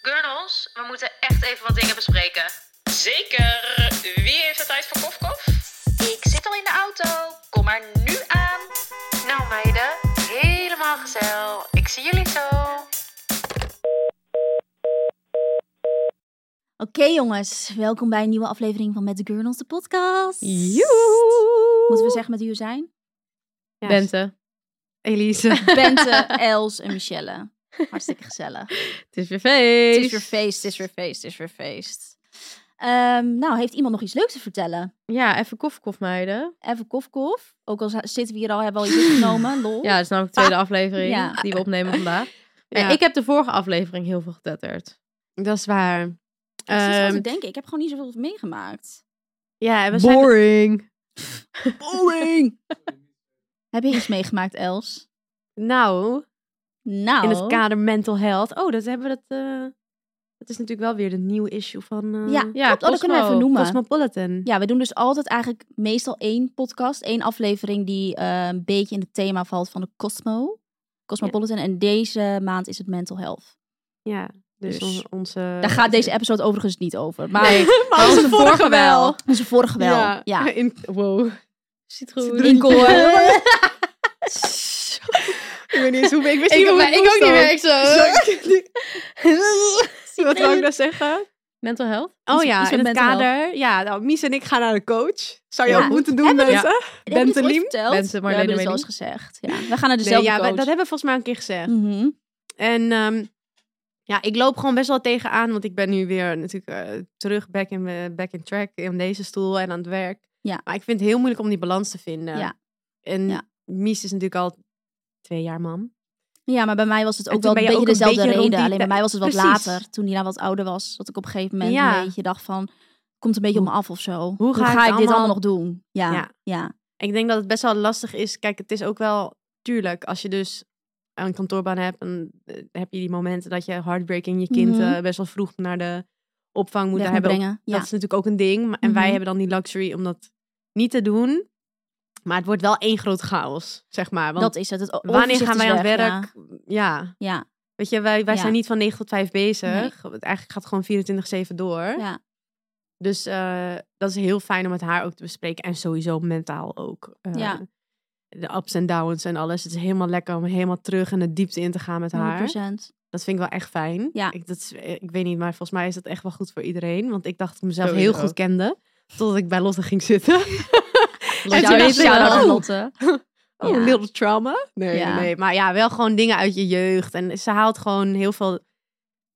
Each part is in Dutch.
Gurnels, we moeten echt even wat dingen bespreken. Zeker. Wie heeft de tijd voor kofkof? Ik zit al in de auto. Kom maar nu aan. Nou meiden, helemaal gezellig. Ik zie jullie zo. Oké jongens, welkom bij een nieuwe aflevering van Met de Gurnels, de podcast. Joe! Moeten we zeggen met wie we zijn? Ja. Bente. Elise. Bente, Els en Michelle. Hartstikke gezellig. Het is weer feest. Het is weer feest, het is weer feest, het is weer feest. Ehm, nou, heeft iemand nog iets leuks te vertellen? Ja, even koffiekof meiden. Even kof kof. Ook al za- zitten we hier al, hebben we al iets opgenomen. Lol. Ja, het is namelijk de tweede aflevering Ja. die we opnemen vandaag. Ah. Ja. En Ik heb de vorige aflevering heel veel getetterd. Dat is waar. Ik zit wel Ehm, te denken, ik heb gewoon niet zoveel meegemaakt. ja, en we zijn... Boring. Boring! heb je iets meegemaakt, Els? Nou, Nou, in het kader mental health. Oh, dat hebben we dat... eh, dat is natuurlijk wel weer de nieuwe issue van eh, Ja, Ja, klopt. Oh, dat kunnen we even Cosmo. noemen. Cosmopolitan. Ja, we doen dus altijd eigenlijk meestal één podcast, één aflevering die eh, een beetje in het thema valt van de Cosmo. Cosmopolitan. En deze maand is het mental health. Ja, dus, Dus. onze... onze Daar gaat deze episode overigens niet over. Maar maar onze vorige wel. onze vorige wel. Ja. In, wow. Citroen. Inkel, eh, Ik weet niet eens hoe... Ik wist Ik, niet hoe maar ik ook niet meer. Ik zo. Wat wou ik nou zeggen? Mental health? Oh Iets- ja, iets in met het mental kader. Ja, nou, Mies en ik gaan naar de coach. Zou je Ja. ook moeten doen, Hebben we mensen? heb je dit ooit Benteliem? verteld? Bente, we Marlene hebben het wel eens Meling. gezegd. Ja. We gaan naar Nee, dezelfde ja, we- coach. dat hebben we volgens mij een keer gezegd. Mhm. En ehm, ja, ik loop gewoon best wel tegenaan, want ik ben nu weer natuurlijk eh, terug back in, eh, back in track in deze stoel en aan het werk. Ja. Maar ik vind het heel moeilijk om die balans te vinden. Ja. En Ja. Mies is natuurlijk al twee jaar mam. Ja, maar bij mij was het En ook toen wel een ben je beetje ook een dezelfde beetje rond reden. Alleen die bij mij tijd- was het wat Precies. later, toen hij nou wat ouder was. Dat ik op een gegeven moment Ja. een beetje dacht van, komt een beetje op me af of zo. Hoe ga ik ik het dit allemaal allemaal- nog doen? Ja, ja. Ja. Ik denk dat het best wel lastig is. Kijk, het is ook wel, tuurlijk, als je dus een kantoorbaan hebt, dan eh, heb je die momenten dat je heartbreaking je kind Mhm. eh, best wel vroeg naar de opvang moet Weg moet hebben. brengen. Ja. Dat is natuurlijk ook een ding. maar- En Mhm. wij hebben dan die luxury om dat niet te doen. Maar het wordt wel één groot chaos, zeg maar. Want dat is het. het o- wanneer overzicht gaan is wij aan het weg, werk? Ja. Ja, Weet je, wij, wij Ja. zijn niet van 9 tot 5 bezig. Want Eigenlijk gaat het gewoon 24-7 door. ja, ja. Dus eh, dat is heel fijn om met haar ook te bespreken. En sowieso mentaal ook. Eh, Ja. De ups en downs en alles. Het is helemaal lekker om helemaal terug in de diepte in te gaan met haar. 100%. Dat vind ik wel echt fijn. Ja. Ik, dat is, eh, ik weet niet, maar volgens mij is dat echt wel goed voor iedereen. Want ik dacht dat ik mezelf Sowieso. heel goed kende. Totdat ik bij Lotte ging zitten. Lotte, toen dacht ik, shout-out oh. aan Lotte. Oh, Ja. little trauma? Nee, Ja. nee. Maar ja, wel gewoon dingen uit je jeugd. En ze haalt gewoon heel veel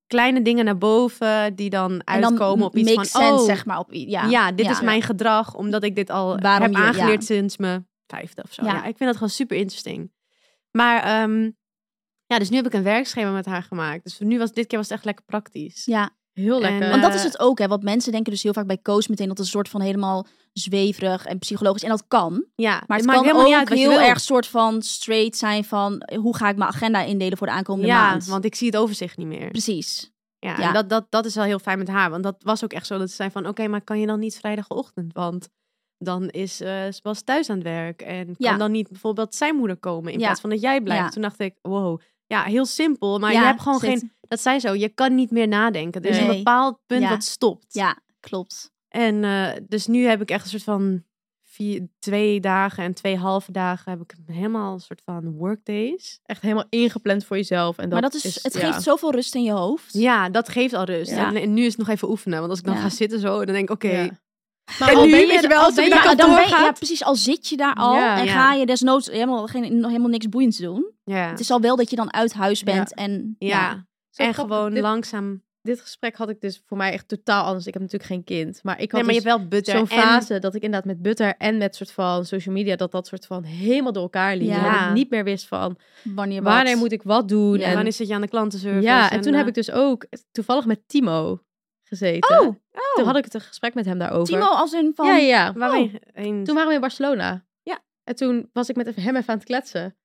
kleine dingen naar boven. Die dan En dan uitkomen op iets van... makes sense, oh, zeg maar. Op, i- ja. ja, dit is mijn gedrag. Omdat ik dit al Waarom heb je- ja. aangeleerd sinds mijn vijfde of zo. Ja. Ja. ik vind dat gewoon super interesting. Maar ehm, ja, dus nu heb ik een werkschema met haar gemaakt. Dus nu was, dit keer was het echt lekker praktisch. Ja, Heel En- lekker. want dat is Eh, het ook, hè. Want mensen denken dus heel vaak bij coach meteen dat het een soort van helemaal zweverig en psychologisch. En dat kan. Ja, Maar het maakt kan helemaal ook niet uit wat je heel wil. erg soort van straight zijn van eh, hoe ga ik mijn agenda indelen voor de aankomende Ja, maand. want ik zie het overzicht niet meer. Precies. Ja, Ja. En dat, dat, dat is wel heel fijn met haar. Want dat was ook echt zo dat ze zei van... Oké, maar kan je dan niet vrijdagochtend? Want dan is eh ze was thuis aan het werk. En kan Ja. dan niet bijvoorbeeld zijn moeder komen... in Ja. plaats van dat jij blijft. Ja. Toen dacht ik, wow. Ja, heel simpel. Maar Ja, je hebt gewoon zit- geen... Dat zij zo, je kan niet meer nadenken. Er is Nee. een bepaald punt Ja. dat stopt. Ja, klopt. En eh, dus nu heb ik echt een soort van... Vier, twee dagen en twee halve dagen heb ik helemaal een soort van workdays. Echt helemaal ingepland voor jezelf. En dat maar dat is, het ja. geeft zoveel rust in je hoofd. Ja, dat geeft al rust. Ja. En, en nu is het nog even oefenen. Want als ik dan Ja. ga zitten zo, dan denk ik, oké, Ja. Maar En al nu, ben je weet je er- wel, al als ben ik je naar er- ja, kantoor dan ben, je- gaat. ja, precies. Al zit je daar al Ja, en ja. ga je desnoods helemaal, geen, nog helemaal niks boeiends doen. Ja. Het is al wel dat je dan uit huis bent. En, ja. Zo En grappig, gewoon dit- langzaam. Dit gesprek had ik dus voor mij echt totaal anders. Ik heb natuurlijk geen kind. Maar ik had Nee, maar je dus- hebt wel butter. zo'n en- fase dat ik inderdaad met butter en met soort van social media dat dat soort van helemaal door elkaar liep. Ja. Dat ik niet meer wist van wanneer wat. wanneer moet ik wat doen. Ja. En en, dan zit je aan de klantenservice. ja, en toen eh, heb ik dus ook toevallig met Timo gezeten. Oh, Toen had ik het een gesprek met hem daarover. Timo als in van... Ja, ja, ja. Waar ben je heen? Toen waren we in Barcelona. Ja. En toen was ik met hem even aan het kletsen.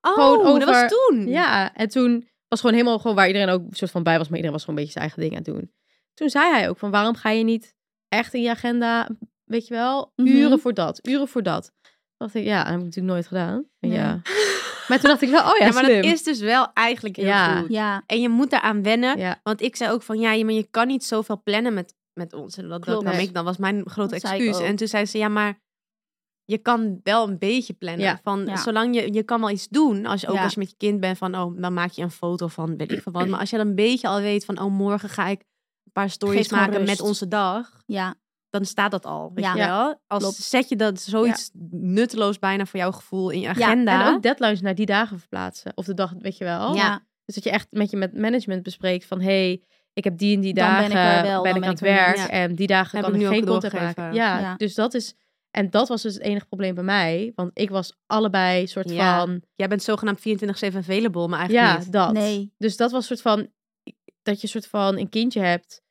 oh, gewoon dat was over- toen. Ja, en toen was gewoon helemaal gewoon waar iedereen ook een soort van bij was, maar iedereen was gewoon een beetje zijn eigen ding aan het doen. Toen zei hij ook van waarom ga je niet echt in je agenda, weet je wel, Mhm. uren voor dat, uren voor dat. dacht ik, ja, dat heb ik natuurlijk nooit gedaan. Nee. Ja. Maar toen dacht ik wel, oh ja, Ja, maar slim. dat is dus wel eigenlijk heel Ja. goed. Ja, En je moet daaraan wennen. Ja. Want ik zei ook van, ja, je, maar je kan niet zoveel plannen met, met ons. En dat, dat Klopt. nam Nee. ik dan, was mijn grote Dat zei ik excuus. ook. En toen zei ze, ja, maar je kan wel een beetje plannen. Ja. Van, Ja. Zolang je, je kan wel iets doen. Als je, ook Ja. als je met je kind bent, van, oh, dan maak je een foto van, weet ik veel wat. Maar als je dan een beetje al weet van, oh, morgen ga ik een paar stories Geeft gewoon maken met rust. onze dag. ja, Dan staat dat al, weet Ja. je wel. Als Klopt. zet je dat zoiets nutteloos bijna voor jouw gevoel in je Ja, en agenda. Oh. En ook deadlines naar die dagen verplaatsen. Of de dag, weet je wel. ja. Dus dat je echt met je met management bespreekt van... hey, ik heb die en die Dan ben dagen ik er wel, ben dan ik ben aan ik het er niet. werk. Ja. En die dagen Heb kan ik ik nu ook geen contact doorgegeven. maken. Ja, Ja. dus dat is... En dat was dus het enige probleem bij mij. Want ik was allebei soort Ja. van... Jij bent zogenaamd 24-7 available, maar eigenlijk Ja, niet. dat. Nee. Dus dat was soort van... Dat je soort van een kindje hebt...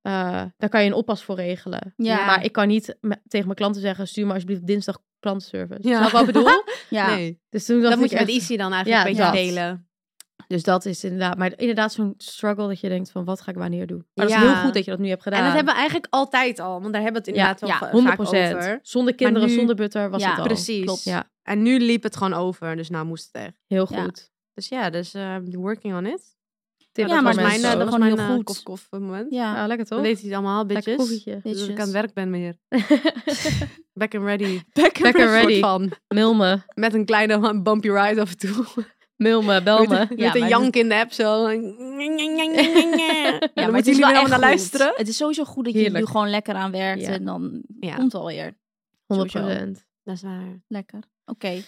eh, daar kan je een oppas voor regelen. Ja. Maar ik kan niet me- tegen mijn klanten zeggen... stuur me alsjeblieft dinsdag klantenservice. Ja. Snap je wat ik bedoel? ja. Nee. Dus toen dacht Dat, ik moet je met echt- Isi dan eigenlijk Ja, een beetje dat. delen. Dus dat is inderdaad, maar inderdaad zo'n struggle dat je denkt van wat ga ik wanneer doen. Maar dat Ja. is heel goed dat je dat nu hebt gedaan. En dat hebben we eigenlijk altijd al, want daar hebben we het Ja, inderdaad wel ja, va- 100 vaak over. Zonder kinderen, nu- zonder butter was Ja, het al. Precies. Klopt, ja, En nu liep het gewoon over, dus nou moest het echt. heel Ja. goed. Dus ja, dus eh, working on it. Tip Ja, voor maar dat was mensen. mijn, ook eh, dat was gewoon mijn heel eh, goed. kof- kof moment. Ja. Ja, lekker Dan toch? weet hij het allemaal, Lekker bitches. koffietje. Dus als ik Bitches. aan het werk ben weer. Back and ready. Back and Een soort ready. van. Mail me, Met een kleine bumpy ride af en toe. mail me, bel Met, me. met Ja, een maar jank in de app zo. En Ja, dan maar het moeten is wel jullie wel echt naar goed. luisteren. Het is sowieso goed dat je Heerlijk. er nu gewoon lekker aan werkt. Ja. En dan Ja. komt het alweer. 100 Dat is waar. Lekker. Oké.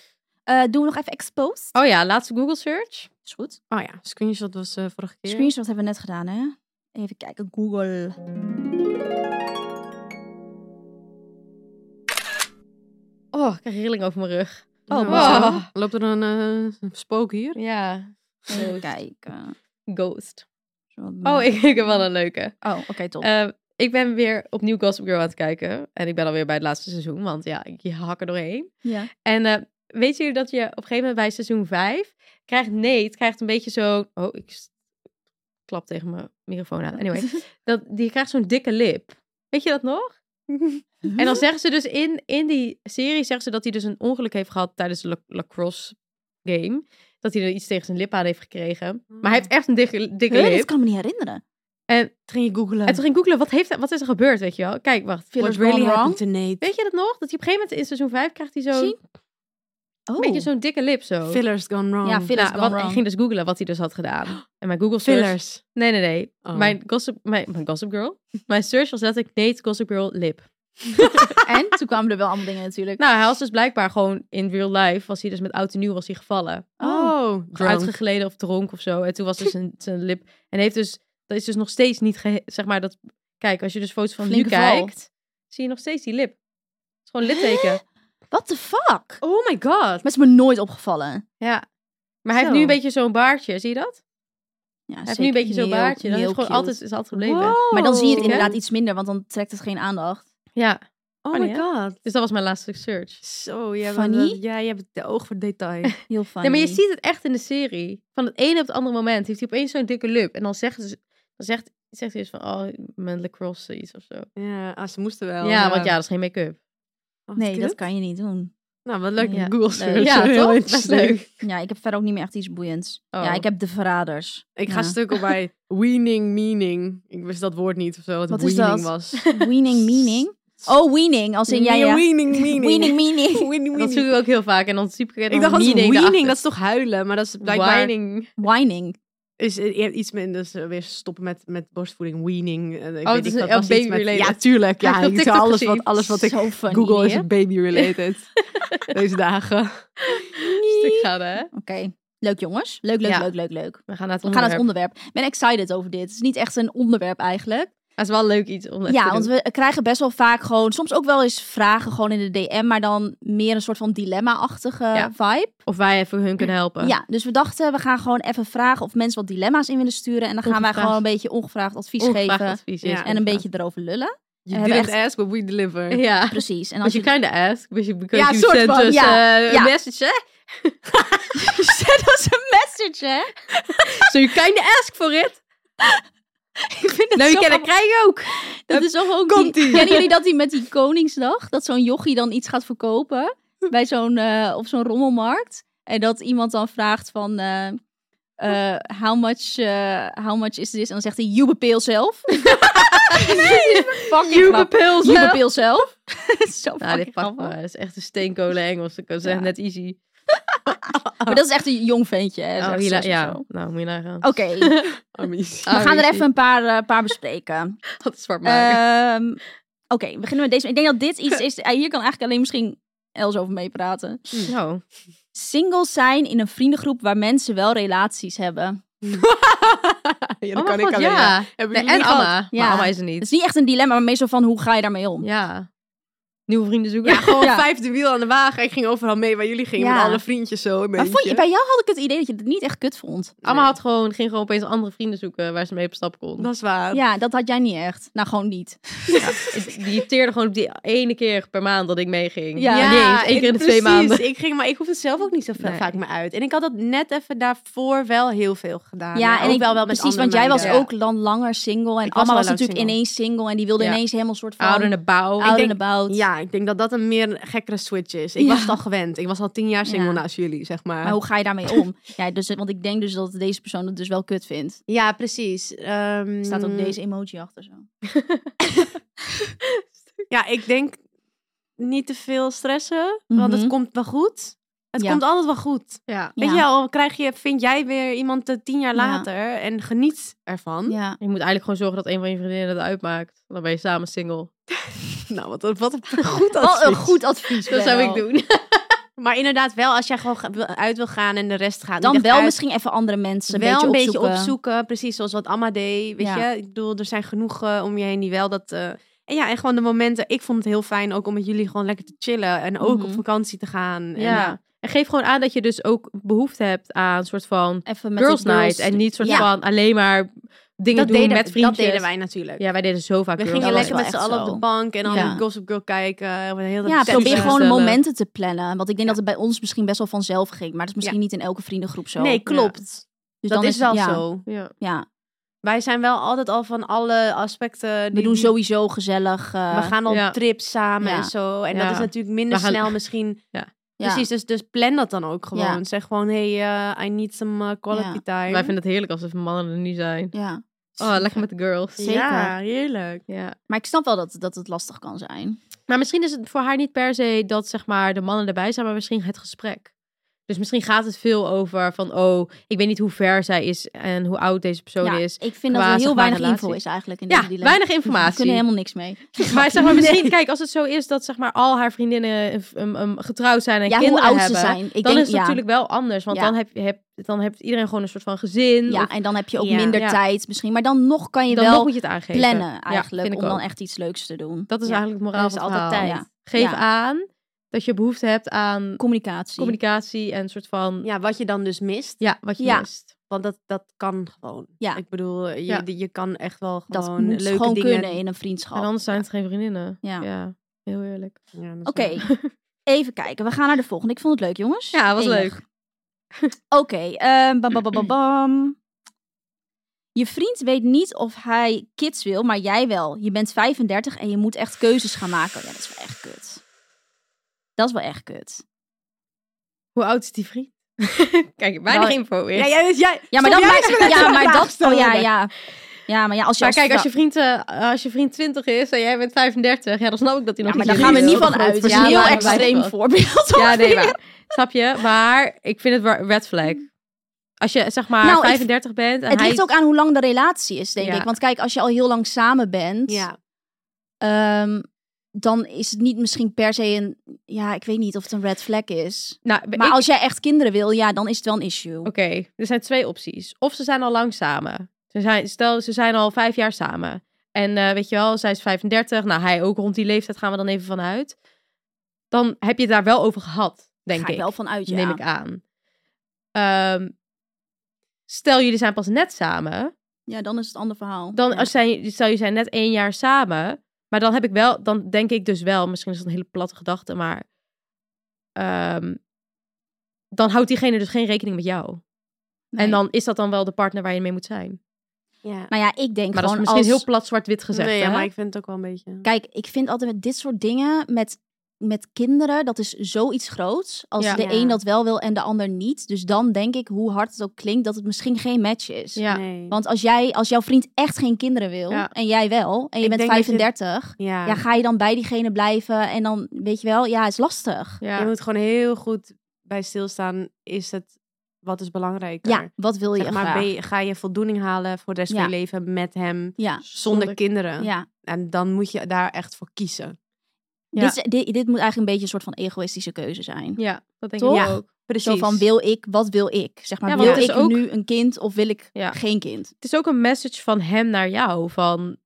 Eh, doen we nog even exposed? Oh ja, laatste Google search. Is goed. Oh ja, screenshot was eh, vorige keer. Screenshot hebben we net gedaan, hè? Even kijken. Google. Oh, ik krijg rilling over mijn rug. Oh, Nou, wow. zo. Loopt er een eh, spook hier? Ja, Even kijken. ghost. Zo, Oh, ik, ik heb wel een leuke. Oh, oké, top. Eh, ik ben weer opnieuw Gossip Girl aan het kijken. En ik ben alweer bij het laatste seizoen, want ja, ik hak er doorheen. ja. En eh weet jullie dat je op een gegeven moment bij seizoen 5 krijgt Nate krijgt een beetje zo'n oh ik s- klap tegen mijn microfoon aan. Anyway, dat die krijgt zo'n dikke lip. Weet je dat nog? Mhm. En dan zeggen ze dus in, in die serie zeggen ze dat hij dus een ongeluk heeft gehad tijdens de la- lacrosse game. Dat hij er iets tegen zijn lip aan heeft gekregen. Maar hij heeft echt een dikke, dikke Huh, Mhm. dat lip. kan ik me niet herinneren. En, ging je googlen. en toen ging ik googlen, wat, heeft, wat is er gebeurd, weet je wel? Kijk, wacht. Feel- What What's gone really wrong? happened to Nate? Weet je dat nog? Dat hij op een gegeven moment in seizoen 5 krijgt hij zo'n Zie? Oh, beetje zo'n dikke lip zo. Fillers gone wrong. Ja, fillers Nou, gone wat, ik wrong. ging dus googlen wat hij dus had gedaan. En mijn Google search... Fillers. Nee, nee, nee. Oh. Mijn, gossip, mijn, mijn Gossip Girl. Mijn search was letterlijk Nate Gossip Girl lip. en toen kwamen er wel allemaal dingen natuurlijk. Nou, hij was dus blijkbaar gewoon in real life... was hij dus met oud en nieuw was hij gevallen. Oh, drunk. Uitgegleden of dronk of zo. En toen was dus een, zijn lip... En heeft dus... Dat is dus nog steeds niet... gehe- Zeg maar dat... Kijk, als je dus foto's van Flinke nu val. kijkt... Zie je nog steeds die lip. Het is gewoon een litteken. What the fuck? Oh my god. Maar het is me nooit opgevallen. Ja. Maar hij heeft Zo. nu een beetje zo'n baardje. Zie je dat? Ja, Hij heeft nu een beetje zo'n baardje. Dat is is gewoon altijd, is altijd gebleven. Maar dan zie je het Hè? inderdaad iets minder, want dan trekt het geen aandacht. Ja. Oh my Funny, god. Dus dat was mijn laatste search. Zo, jij Funny? bent, ja, jij hebt de oog voor detail. Heel fijn. Nee, maar je ziet het echt in de serie. Van het ene op het andere moment heeft hij opeens zo'n dikke lip. En dan zegt, ze- dan zegt, zegt hij dus van, oh, mijn lacrosse iets of Oh, zo. ja, ah, ze moesten wel. ja, want ja, dat is geen make-up. Oh, Nee, dat kut. kan je niet doen. Nou, wat leuk. Ja. Google search. Ja, Heel toch? Best interessant. leuk. Ja, ik heb verder ook niet meer echt iets boeiends. Oh. Ja, ik heb de verraders. Ik ga Ja. stuk op bij weaning meaning. Ik wist dat woord niet of zo, wat, Wat is weaning dat? was. Weaning meaning. Oh, weaning. Als in, ja, Nee, ja. Weaning meaning. Weaning meaning. Weaning Dat zoek meaning. ik ook heel vaak. En dan zie ik er Ik dacht, dat is meaning weaning, erachter. dat is toch huilen? Maar dat is blijkbaar... Whining. Whining. Is eh, je hebt iets met, dus eh, weer stoppen met, met borstvoeding, weaning. eh, Ik Oh, weet het is niet, een- dat was oh, iets met- baby-related. Ja, tuurlijk. Heb Ja, je dat op ik- TikTok alles gezien? wat, alles wat ik Zo funny, google hè? is baby-related. Deze dagen. Stuk gaan, hè? Oké. Leuk jongens. Leuk, leuk, Ja. leuk, leuk, leuk. We gaan naar het We gaan naar het onderwerp. onderwerp. Ik ben excited over dit. Het is niet echt een onderwerp eigenlijk. Dat is wel leuk iets om even te Ja, want doen. we krijgen best wel vaak gewoon, soms ook wel eens vragen gewoon in de DM, maar dan meer een soort van dilemma-achtige Ja. vibe. Of wij even hun kunnen helpen. Ja, dus we dachten, we gaan gewoon even vragen of mensen wat dilemma's in willen sturen. En dan gaan wij Ongevraagd. gewoon een beetje ongevraagd advies Ongevraagd geven. advies. Ja. yes, En een ongevraagd. beetje erover lullen. You hebben didn't echt- ask, but we deliver. Ja. Precies. En Als als je je kind ask, because you, because Ja, you soort sent van, us ja. eh, a Ja. message, hè? Send ons een message, hè? So you kind ask for it. Ik vind het Nou, je zo kan dat grappig. krijg je ook. Dat is toch ook... die- Komt-ie. Kennen jullie dat die met die Koningsdag, dat zo'n jochie dan iets gaat verkopen? bij zo'n, eh, op zo'n rommelmarkt. En dat iemand dan vraagt van, eh, eh, how, much, eh, how much is this? En dan zegt hij, you bepeel zelf. Fucking You knap. You bepeel zelf. bepeel zelf. Zo Nou, dit fucking pakt grappig. me. Dat is echt een dus steenkolen Engels. Dat is Ja. echt net easy. Maar dat is echt een jong ventje. hè. Dat is Oh, echt hila- zes of zo. ja. Nou, moet je nagaan. Oké, we Ah, gaan er easy. even een paar, eh, paar bespreken. Wat zwart maken. Ehm, Oké, we beginnen met deze. Ik denk dat dit iets is. eh, Hier kan eigenlijk alleen misschien Els over meepraten. nou, Singles zijn in een vriendengroep waar mensen wel relaties hebben. ja, oh mijn god, ja. Hebben Nee, jullie en niet gehad? Anna. Ja. Maar Anna is er Het niet. is niet echt een dilemma, maar meestal van hoe ga je daarmee om? Ja. Nieuwe vrienden zoeken. Ja, gewoon Ja. vijfde wiel aan de wagen. Ik ging overal mee waar jullie gingen Ja. met alle vriendjes zo. in mijn Maar vond je, eentje. bij jou had ik het idee dat je het niet echt kut vond. Amma had gewoon, ging gewoon opeens andere vrienden zoeken waar ze mee op stap kon. Dat is waar. Ja, dat had jij niet echt. Nou, gewoon niet. Die irriteerde gewoon op die ene keer per maand dat ik meeging. Ja. Nee, eens één ik- keer in de twee precies. maanden. Ik ging, maar ik hoefde zelf ook niet zo va- Nee. vaak meer uit. En ik had dat net even daarvoor wel heel veel gedaan. ja, hè. en ook ik wel, wel met precies, want andere jij was meiden. ook dan langer single. En Ik was Amma al was lang natuurlijk single. ineens single en die wilde Ja. ineens helemaal een soort van... Ouder in de bouw. out Ik and denk- about. Ja, ik denk dat dat een meer gekkere switch is. Ik Ja. was het al gewend. Ik was al tien jaar single Ja. naast jullie, zeg maar. Maar hoe ga je daarmee om? ja, dus, want ik denk dus dat deze persoon het dus wel kut vindt. Ja, precies. Ehm, Er staat Mm. ook deze emoji achter zo. Ja, ik denk niet te veel stressen, want Mhm. het komt wel goed. Het Ja. komt altijd wel goed. Ja. Weet Ja. je al, krijg je, vind jij weer iemand eh, tien jaar Ja. later en geniet ervan. Ja. Je moet eigenlijk gewoon zorgen dat een van je vriendinnen het uitmaakt. Dan ben je samen single. Nou, wat, wat een goed Wel een advies. goed advies. Dus Dat zou wel. ik doen. Maar inderdaad wel, als jij gewoon ga- wil- uit wil gaan en de rest gaat. Dan niet echt wel uit, misschien even andere mensen een wel beetje een beetje opzoeken. opzoeken. Precies zoals wat Amma deed. Weet Ja. je, ik bedoel, er zijn genoeg eh, om je heen die wel dat. eh, en ja, en gewoon de momenten. Ik vond het heel fijn ook om met jullie gewoon lekker te chillen. En ook Mhm. op vakantie te gaan. En, eh, Ja. En geef gewoon aan dat je dus ook behoefte hebt aan een soort van Even met girls de girls. night. En niet soort Ja. van alleen maar dingen dat, doen deden, met vriendjes. dat deden wij natuurlijk. Ja, wij deden zo vaak We girls gingen was night. lekker wel met z'n echt allen op zo. de bank en dan Ja. Gossip Girl kijken. eh, Met heel dat Ja, seks probeer Tekst gewoon de stellen. momenten te plannen. Want ik denk dat het bij ons misschien best wel vanzelf ging. Maar dat is misschien niet in elke vriendengroep zo. Nee, klopt. Dus dat dan is wel ja, zo. Ja. Ja, Wij zijn wel altijd al van alle aspecten. we die- doen die- sowieso gezellig. eh, We gaan op ja. trip samen Ja. en zo. En Ja. dat is natuurlijk minder We gaan- snel misschien. ja. Precies, dus, dus plan dat dan ook gewoon. Ja. Zeg gewoon, hey, eh, I need some eh, quality Ja. time. Wij vinden het heerlijk als er mannen er nu zijn. Ja. Oh, lekker met de girls. zeker. Ja, heerlijk. Ja. Maar ik snap wel dat, dat het lastig kan zijn. Maar misschien is het voor haar niet per se dat zeg maar, de mannen erbij zijn, maar misschien het gesprek. Dus misschien gaat het veel over van, oh, ik weet niet hoe ver zij is en hoe oud deze persoon ja, is. ik vind qua, dat er zeg heel maar, weinig info relatie. is eigenlijk in Ja, deze dilemma. weinig We kunnen informatie. helemaal niks mee. Maar zeg maar, misschien, kijk, als het zo is dat zeg maar, al haar vriendinnen eh, f- um, um, getrouwd zijn en Ja, hoe kinderen oud ze hebben, zijn. Ik dan denk, is het ja. natuurlijk wel anders. Want Ja. dan, heb, heb, dan heeft iedereen gewoon een soort van gezin. Ja, of- en dan heb je ook Ja. minder Ja. tijd misschien. Maar dan nog kan je dan nog wel moet je het aangeven. plannen Ja, eigenlijk. vind ik om dan ook. echt iets leuks te doen. Dat is Ja, eigenlijk het Er moraal is van het altijd verhaal. tijd. Ja. Geef Ja. aan dat je behoefte hebt aan Communicatie. communicatie en een soort van... Ja, Ja, wat je dan dus mist. wat je Ja. mist. Want dat, dat kan gewoon. Ja. Ik bedoel, je, Ja. je kan echt wel dat gewoon moet leuke gewoon dingen... kunnen in een vriendschap. En anders zijn het geen vriendinnen. Ja. heel eerlijk. Ja, dat is Oké, waar. even kijken. We gaan naar de volgende. Ik vond het leuk, jongens. Ja, was Enig. leuk. Oké, ehm, bam, bam, bam, bam, bam. Je vriend weet niet of hij kids wil, maar jij wel. Je bent 35 en je moet echt keuzes gaan maken. Ja, dat is wel echt kut. Dat is wel echt kut. Hoe oud is die vriend? Kijk, weinig Nou, info weer. Ja, jij, dus jij, Ja, maar dan Stop, jij is weer ja, een maar vraag dat. Oh, ja, stellen. ja. Ja, maar ja, als je. Maar kijk, als je, vriend, eh, als je vriend 20 is en jij bent 35, ja, dan snap ik dat hij Ja, nog maar niet daar zo gaan we heel niet groot van uit. Dat is verschil een heel maakt. extreem voorbeeld. Ja, nee, alweer. maar. Snap je? Maar ik vind het wel red flag. Als je zeg maar Nou, ik- 35 bent en Het hij... ligt ook aan hoe lang de relatie is, denk Ja. ik. Want kijk, als je al heel lang samen bent, Ja. ehm, dan is het niet misschien per se een. Ja, ik weet niet of het een red flag is. Nou, Maar ik- als jij echt kinderen wil, ja, dan is het wel een issue. Oké, er zijn twee opties. Of ze zijn al lang samen. Ze zijn, stel, ze zijn al vijf jaar samen. En eh, weet je wel, zij is 35. Nou, hij ook rond die leeftijd gaan we dan even vanuit. Dan heb je het daar wel over gehad, denk Ga ik. ik wel vanuit, ja. Neem ik aan. Ehm, stel, jullie zijn pas net samen. Ja, dan is het een ander verhaal. Dan, Ja. als zij, stel, jullie zijn net één jaar samen. Maar dan heb ik wel, dan denk ik dus wel, misschien is dat een hele platte gedachte, maar. ehm, dan houdt diegene dus geen rekening met jou. Nee. En dan is dat dan wel de partner waar je mee moet zijn. Ja. Maar ja, ik denk Maar dat is gewoon misschien als... heel plat zwart-wit gezegd. Nee, ja, hè? maar ik vind het ook wel een beetje... Kijk, ik vind altijd met dit soort dingen, met met kinderen, dat is zoiets groots. Als Ja. de Ja. een dat wel wil en de ander niet. Dus dan denk ik, hoe hard het ook klinkt, dat het misschien geen match is. Ja. Nee. Want als, jij, als jouw vriend echt geen kinderen wil, Ja. en jij wel, en je Ik bent denk dat je- 35, ja. ja, ga je dan bij diegene blijven? En dan, weet je wel, ja, het is lastig. Ja. Je moet gewoon heel goed bij stilstaan. Is het wat is belangrijker? Ja, wat wil je Zeg maar, graag? ben je- ga je voldoening halen voor de rest Ja. van je leven met hem Ja, zonder, kinderen? ja. En dan moet je daar echt voor kiezen. Ja. Dit, is- dit, dit moet eigenlijk een beetje een soort van egoïstische keuze zijn. Ja, dat denk Toch? ik ook. Precies. Zo van, wil ik, wat wil ik? Zeg maar, Ja, want wil het is ik ook- nu een kind of wil ik Ja. geen kind? Het is ook een message van hem naar jou. Van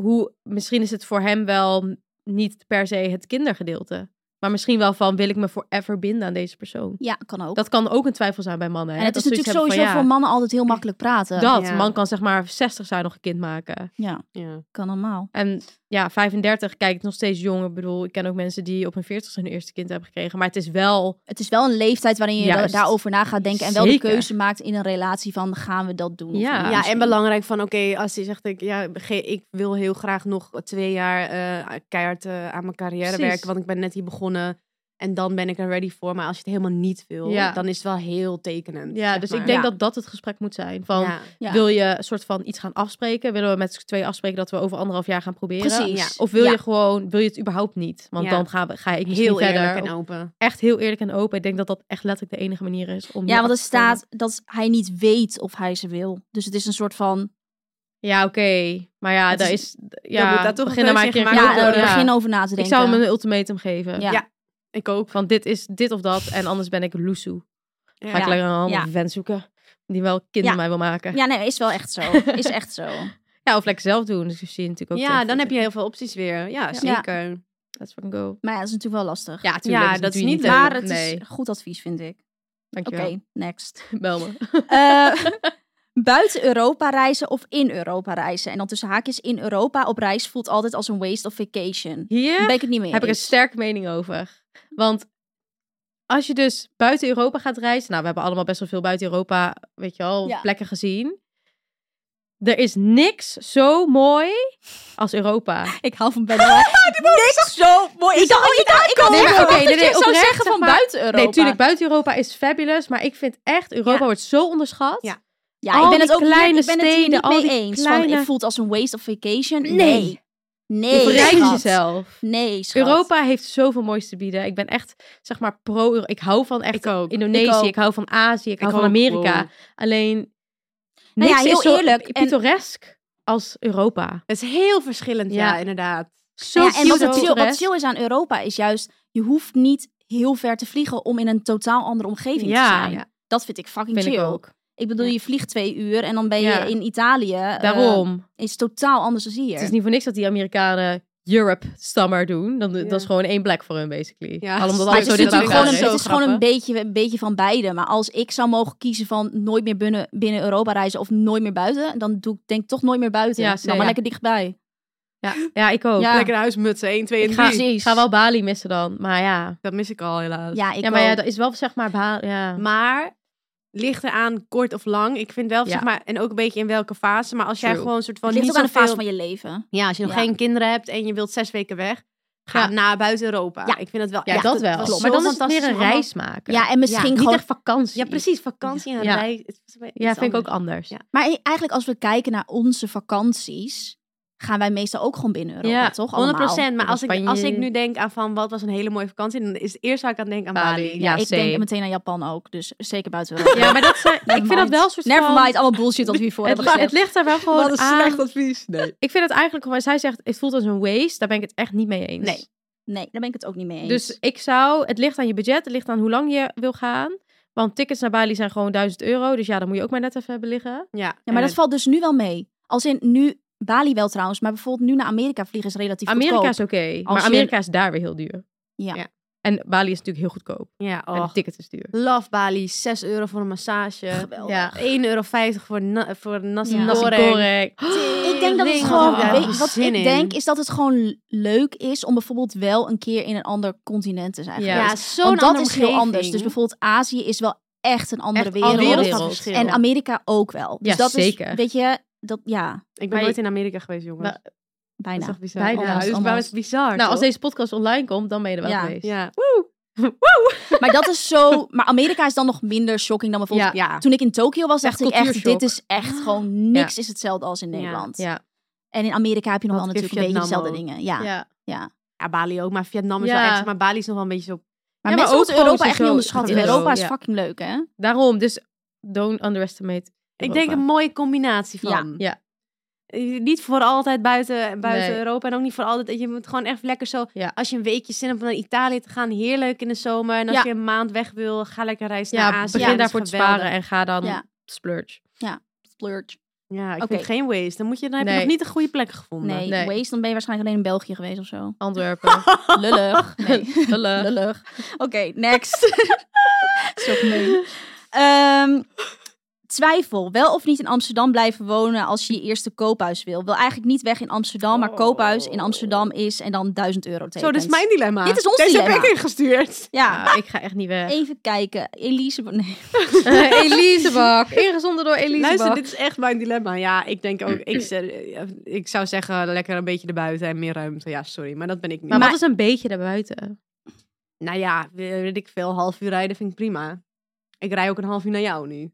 hoe, misschien is het voor hem wel niet per se het kindergedeelte. Maar misschien wel van, wil ik me forever binden aan deze persoon? Ja, kan ook. Dat kan ook een twijfel zijn bij mannen. hè? en het is Dat ze natuurlijk zoiets sowieso voor hebben van, mannen altijd heel makkelijk praten. ja, Dat, Ja. man kan zeg maar 60 zijn nog een kind maken. Ja, Ja. kan normaal. En ja, 35 kijk, nog steeds jong. Ik bedoel, ik ken ook mensen die op hun 40 hun eerste kind hebben gekregen. Maar het is wel Het is wel een leeftijd waarin je Juist. da- daarover na gaat denken. En wel de Zeker. keuze maakt in een relatie van, gaan we dat doen? of Ja. niet Ja, en misschien? belangrijk van, oké, als hij zegt, ik, ja, ge- ik wil heel graag nog twee jaar eh, keihard eh, aan mijn carrière Precies. werken, want ik ben net hier begonnen en dan ben ik er ready voor. Maar als je het helemaal niet wil, Ja. dan is het wel heel tekenend. Ja, zeg dus maar. ik denk Ja. dat dat het gesprek moet zijn. Van, Ja. Ja. wil je een soort van iets gaan afspreken? Willen we met z'n tweeën afspreken dat we over anderhalf jaar gaan proberen? Precies. Ja. Of wil Ja. je gewoon, wil je het überhaupt niet? Want Ja. dan gaan we, ga ik misschien heel verder. eerlijk en Of open. Echt heel eerlijk en open. Ik denk dat dat echt letterlijk de enige manier is om Ja, hier want er af te komen. staat dat hij niet weet of hij ze wil. Dus het is een soort van... Ja, oké. Maar ja, Het daar is- is... Ja, moet daar toch een begin er maar een keuze keer in gemaakt ja, ja, worden. eh, ja. begin over na te Ik denken. zou hem een ultimatum geven. Ja. Ja. Ik ook. Van dit is dit of dat en anders ben ik loesoe. Ga ik Ja. lekker een andere Ja. vent zoeken die wel kinderen Ja. mij wil maken. Ja. Ja, nee, is wel echt zo. Is echt zo. of lekker zelf doen. Dus je ziet natuurlijk ook... Ja, tegen- dan heb je heel veel opties weer. Ja, zeker. Let's fucking go. Maar ja, dat is natuurlijk wel lastig. Ja, tuurlijk, Ja, dat, dat doe is je niet niet. leuk. Maar het nee. is goed advies, vind ik. Oké, Dankjewel. next. Bel me. Eh, buiten Europa reizen of in Europa reizen. En dan tussen haakjes in Europa op reis voelt altijd als een waste of vacation. Daar Hier ben ik het niet mee heb ik een eens. sterke mening over. Want als je dus buiten Europa gaat reizen... Nou, we hebben allemaal best wel veel buiten Europa, weet je wel, Ja. plekken gezien. Er is niks zo mooi als Europa. Ik hou van Bella. Niks zo mooi. Ik dacht, ik dacht, ik had Nee, maar verwacht oké, dat nee, je nee, zou oprecht, zeggen zeg van maar. buiten Europa. Nee, tuurlijk, buiten Europa is fabulous. Maar ik vind echt, Europa Ja. wordt zo onderschat. Ja. Ja, al ik ben die het ook hier- kleine ik ben het hier steden, niet al mee die eens. Van, kleine- het voelt als een waste of vacation. Nee. Nee. Nee, Je verrijkt schat. jezelf. Nee, schat. Europa heeft zoveel moois te bieden. Ik ben echt, zeg maar, pro Ik hou van echt Ik ook. Indonesië, Ik ik, ook. hou van Azië, ik, hou ook, van Amerika. wow. Alleen, Nou ja, niks heel is zo eerlijk, en- pittoresk als Europa. Het is heel verschillend, ja, Ja. inderdaad. Zo ja, en wat, chill, het chill, wat pittoresk. chill is aan Europa is juist, je hoeft niet heel ver te vliegen om in een totaal andere omgeving te Ja, zijn. Dat vind ik fucking vind chill. ik ook. Ik bedoel, je vliegt twee uur en dan ben je Ja. in Italië. eh, Daarom. is totaal anders dan hier. het is niet voor niks dat die Amerikanen Europe stammer doen. Dan, Ja. Dat is gewoon één plek voor hun, basically. Ja, Al omdat Maar het alles zo is dit natuurlijk bij gewoon, elkaar een, is. het is gewoon een, grappig. beetje, een beetje van beide. Maar als ik zou mogen kiezen van nooit meer binnen, binnen Europa reizen of nooit meer buiten, dan doe ik denk ik toch nooit meer buiten. Ja, Dan zeker. maar lekker dichtbij. Ja, ja, ik ook. Ja. Lekker huismutsen, 1, 2 Ik en ga, 3. ik ga wel Bali missen dan, maar ja. Dat mis ik al helaas. Ja, ik ja, maar ja, ook. dat is wel zeg maar Bali. Ja. Maar ligt eraan kort of lang. Ik vind wel, Ja. zeg maar, en ook een beetje in welke fase. Maar als jij True. gewoon een soort van Het ligt niet ook aan de fase zoveel- van je leven. Ja, als je nog Ja. geen kinderen hebt en je wilt zes weken weg, ga Ja. naar buiten Europa. Ja. Ik vind dat wel Ja, echt- dat het wel. was klopt. zo Maar dan is het fantastisch meer een om allemaal- reis maken. Ja, en misschien niet gewoon echt vakantie. Ja, precies. Vakantie en Ja. reis. Het is iets Ja, vind ik ook anders. anders. Ja. Maar i- eigenlijk als we kijken naar onze vakanties, gaan wij meestal ook gewoon binnen Europa, Ja, toch? 100 Allemaal. Maar Of als ik, Spanje. als ik nu denk aan van wat was een hele mooie vakantie, dan is het eerste waar ik aan denk aan Bali. Bali, Ja, Ja, ik same. denk meteen aan Japan ook, dus zeker buiten Europa. Ja, maar dat zijn, ik vind dat wel een soort Never van... mind, allemaal bullshit dat we hiervoor Het, hebben lag- het gezegd. ligt er wel gewoon aan. advies. Nee. Ik vind het eigenlijk, waar zij zegt, het voelt als een waste, daar ben ik het echt niet mee eens. Nee, Nee, daar ben ik het ook niet mee eens. Dus ik zou, het ligt aan je budget, het ligt aan hoe lang je wil gaan. Want tickets naar Bali zijn gewoon 1000 euro, dus ja, dan moet je ook maar net even hebben liggen. Ja, ja, maar dat valt dus nu wel mee. Als in nu, Bali wel trouwens, maar bijvoorbeeld nu naar Amerika vliegen is relatief Amerika goedkoop. is oké, maar je- Amerika is daar weer heel duur. Ja. Ja. En Bali is natuurlijk heel goedkoop. ja, En oh. het ticket is duur. Love Bali, 6 euro voor een massage. Geweldig. Ja. 1,50 euro voor, na, voor nasi Ja. Nasi goreng. goreng. Ik denk dat het Ring, gewoon, wat heb ik daar weet- wat zin ik in. denk is dat het gewoon leuk is om bijvoorbeeld wel een keer in een ander continent te zijn Ja. geweest. Ja, Want zo'n dat andere is heel omgeving. anders. Dus bijvoorbeeld Azië is wel echt een andere Echt wereld. andere wereld. Wereldverschil. En Amerika ook wel. Dus Ja, dat zeker. is, weet je, dat ja. Ik ben Maar je- nooit in Amerika geweest, jongens. Wa- Dat is Bijna. toch bizar? Bijna. Ja, dus Almost, waarom is almost. het bizar, nou, als toch? deze podcast online komt, dan ben je er wel Ja. geweest. Ja. Maar dat is zo. Maar Amerika is dan nog minder shocking dan bijvoorbeeld. Ja. Toen ik in Tokio was, dacht Echt ik echt: cultuurshock. dit is echt gewoon niks is hetzelfde als in Ja. Nederland. Ja. En in Amerika heb je nog Wat wel natuurlijk een heeft beetje Vietnam dezelfde dingen. Ja. ja. Ja, Bali ook, maar Vietnam is Ja. wel echt... Maar Bali is nog wel een beetje zo... Maar Ja, maar mensen ook moeten gewoon Europa zo- echt niet zo- onderschatten. zo- Europa is ja. fucking leuk, hè? Daarom, dus don't underestimate. Ik Europa. denk een mooie combinatie van. Ja. Eh, Niet voor altijd buiten, buiten Nee. Europa en ook niet voor altijd. Je moet gewoon echt lekker zo... Ja. Als je een weekje zin hebt om naar Italië te gaan, heerlijk in de zomer. En als Ja. je een maand weg wil, ga lekker reizen naar Ja, Azië. begin Dat is daarvoor te geweldig. sparen en ga dan Ja. splurge. Splurge. Ja, ik Oké. vind geen waste. Dan, moet je, dan heb Nee. je nog niet de goede plek gevonden. Nee, Nee. waste, dan ben je waarschijnlijk alleen in België geweest of zo. Antwerpen. Lullig. Nee. Lullig. Lullig. Oké, next. Zo gemeen. Ehm, twijfel. Wel of niet in Amsterdam blijven wonen als je je eerste koophuis wil. Wil eigenlijk niet weg in Amsterdam, maar koophuis in Amsterdam is en dan 1000 euro tekent. Zo, dit is mijn dilemma. Dit is ons Deze heb dilemma. ik ingestuurd. Ja, Ja, ik ga echt niet weg. even kijken. Elise... Nee. Elisabak. Ingezonden door Luister, Elisabak. dit is echt mijn dilemma. Ja, ik denk ook... Ik, ze- ik zou zeggen, lekker een beetje erbuiten en meer ruimte. Ja, sorry, maar dat ben ik niet. Maar, Maar- wat is een beetje daarbuiten? Nou ja, weet ik veel. Half uur rijden vind ik prima. Ik rij ook een half uur naar jou nu.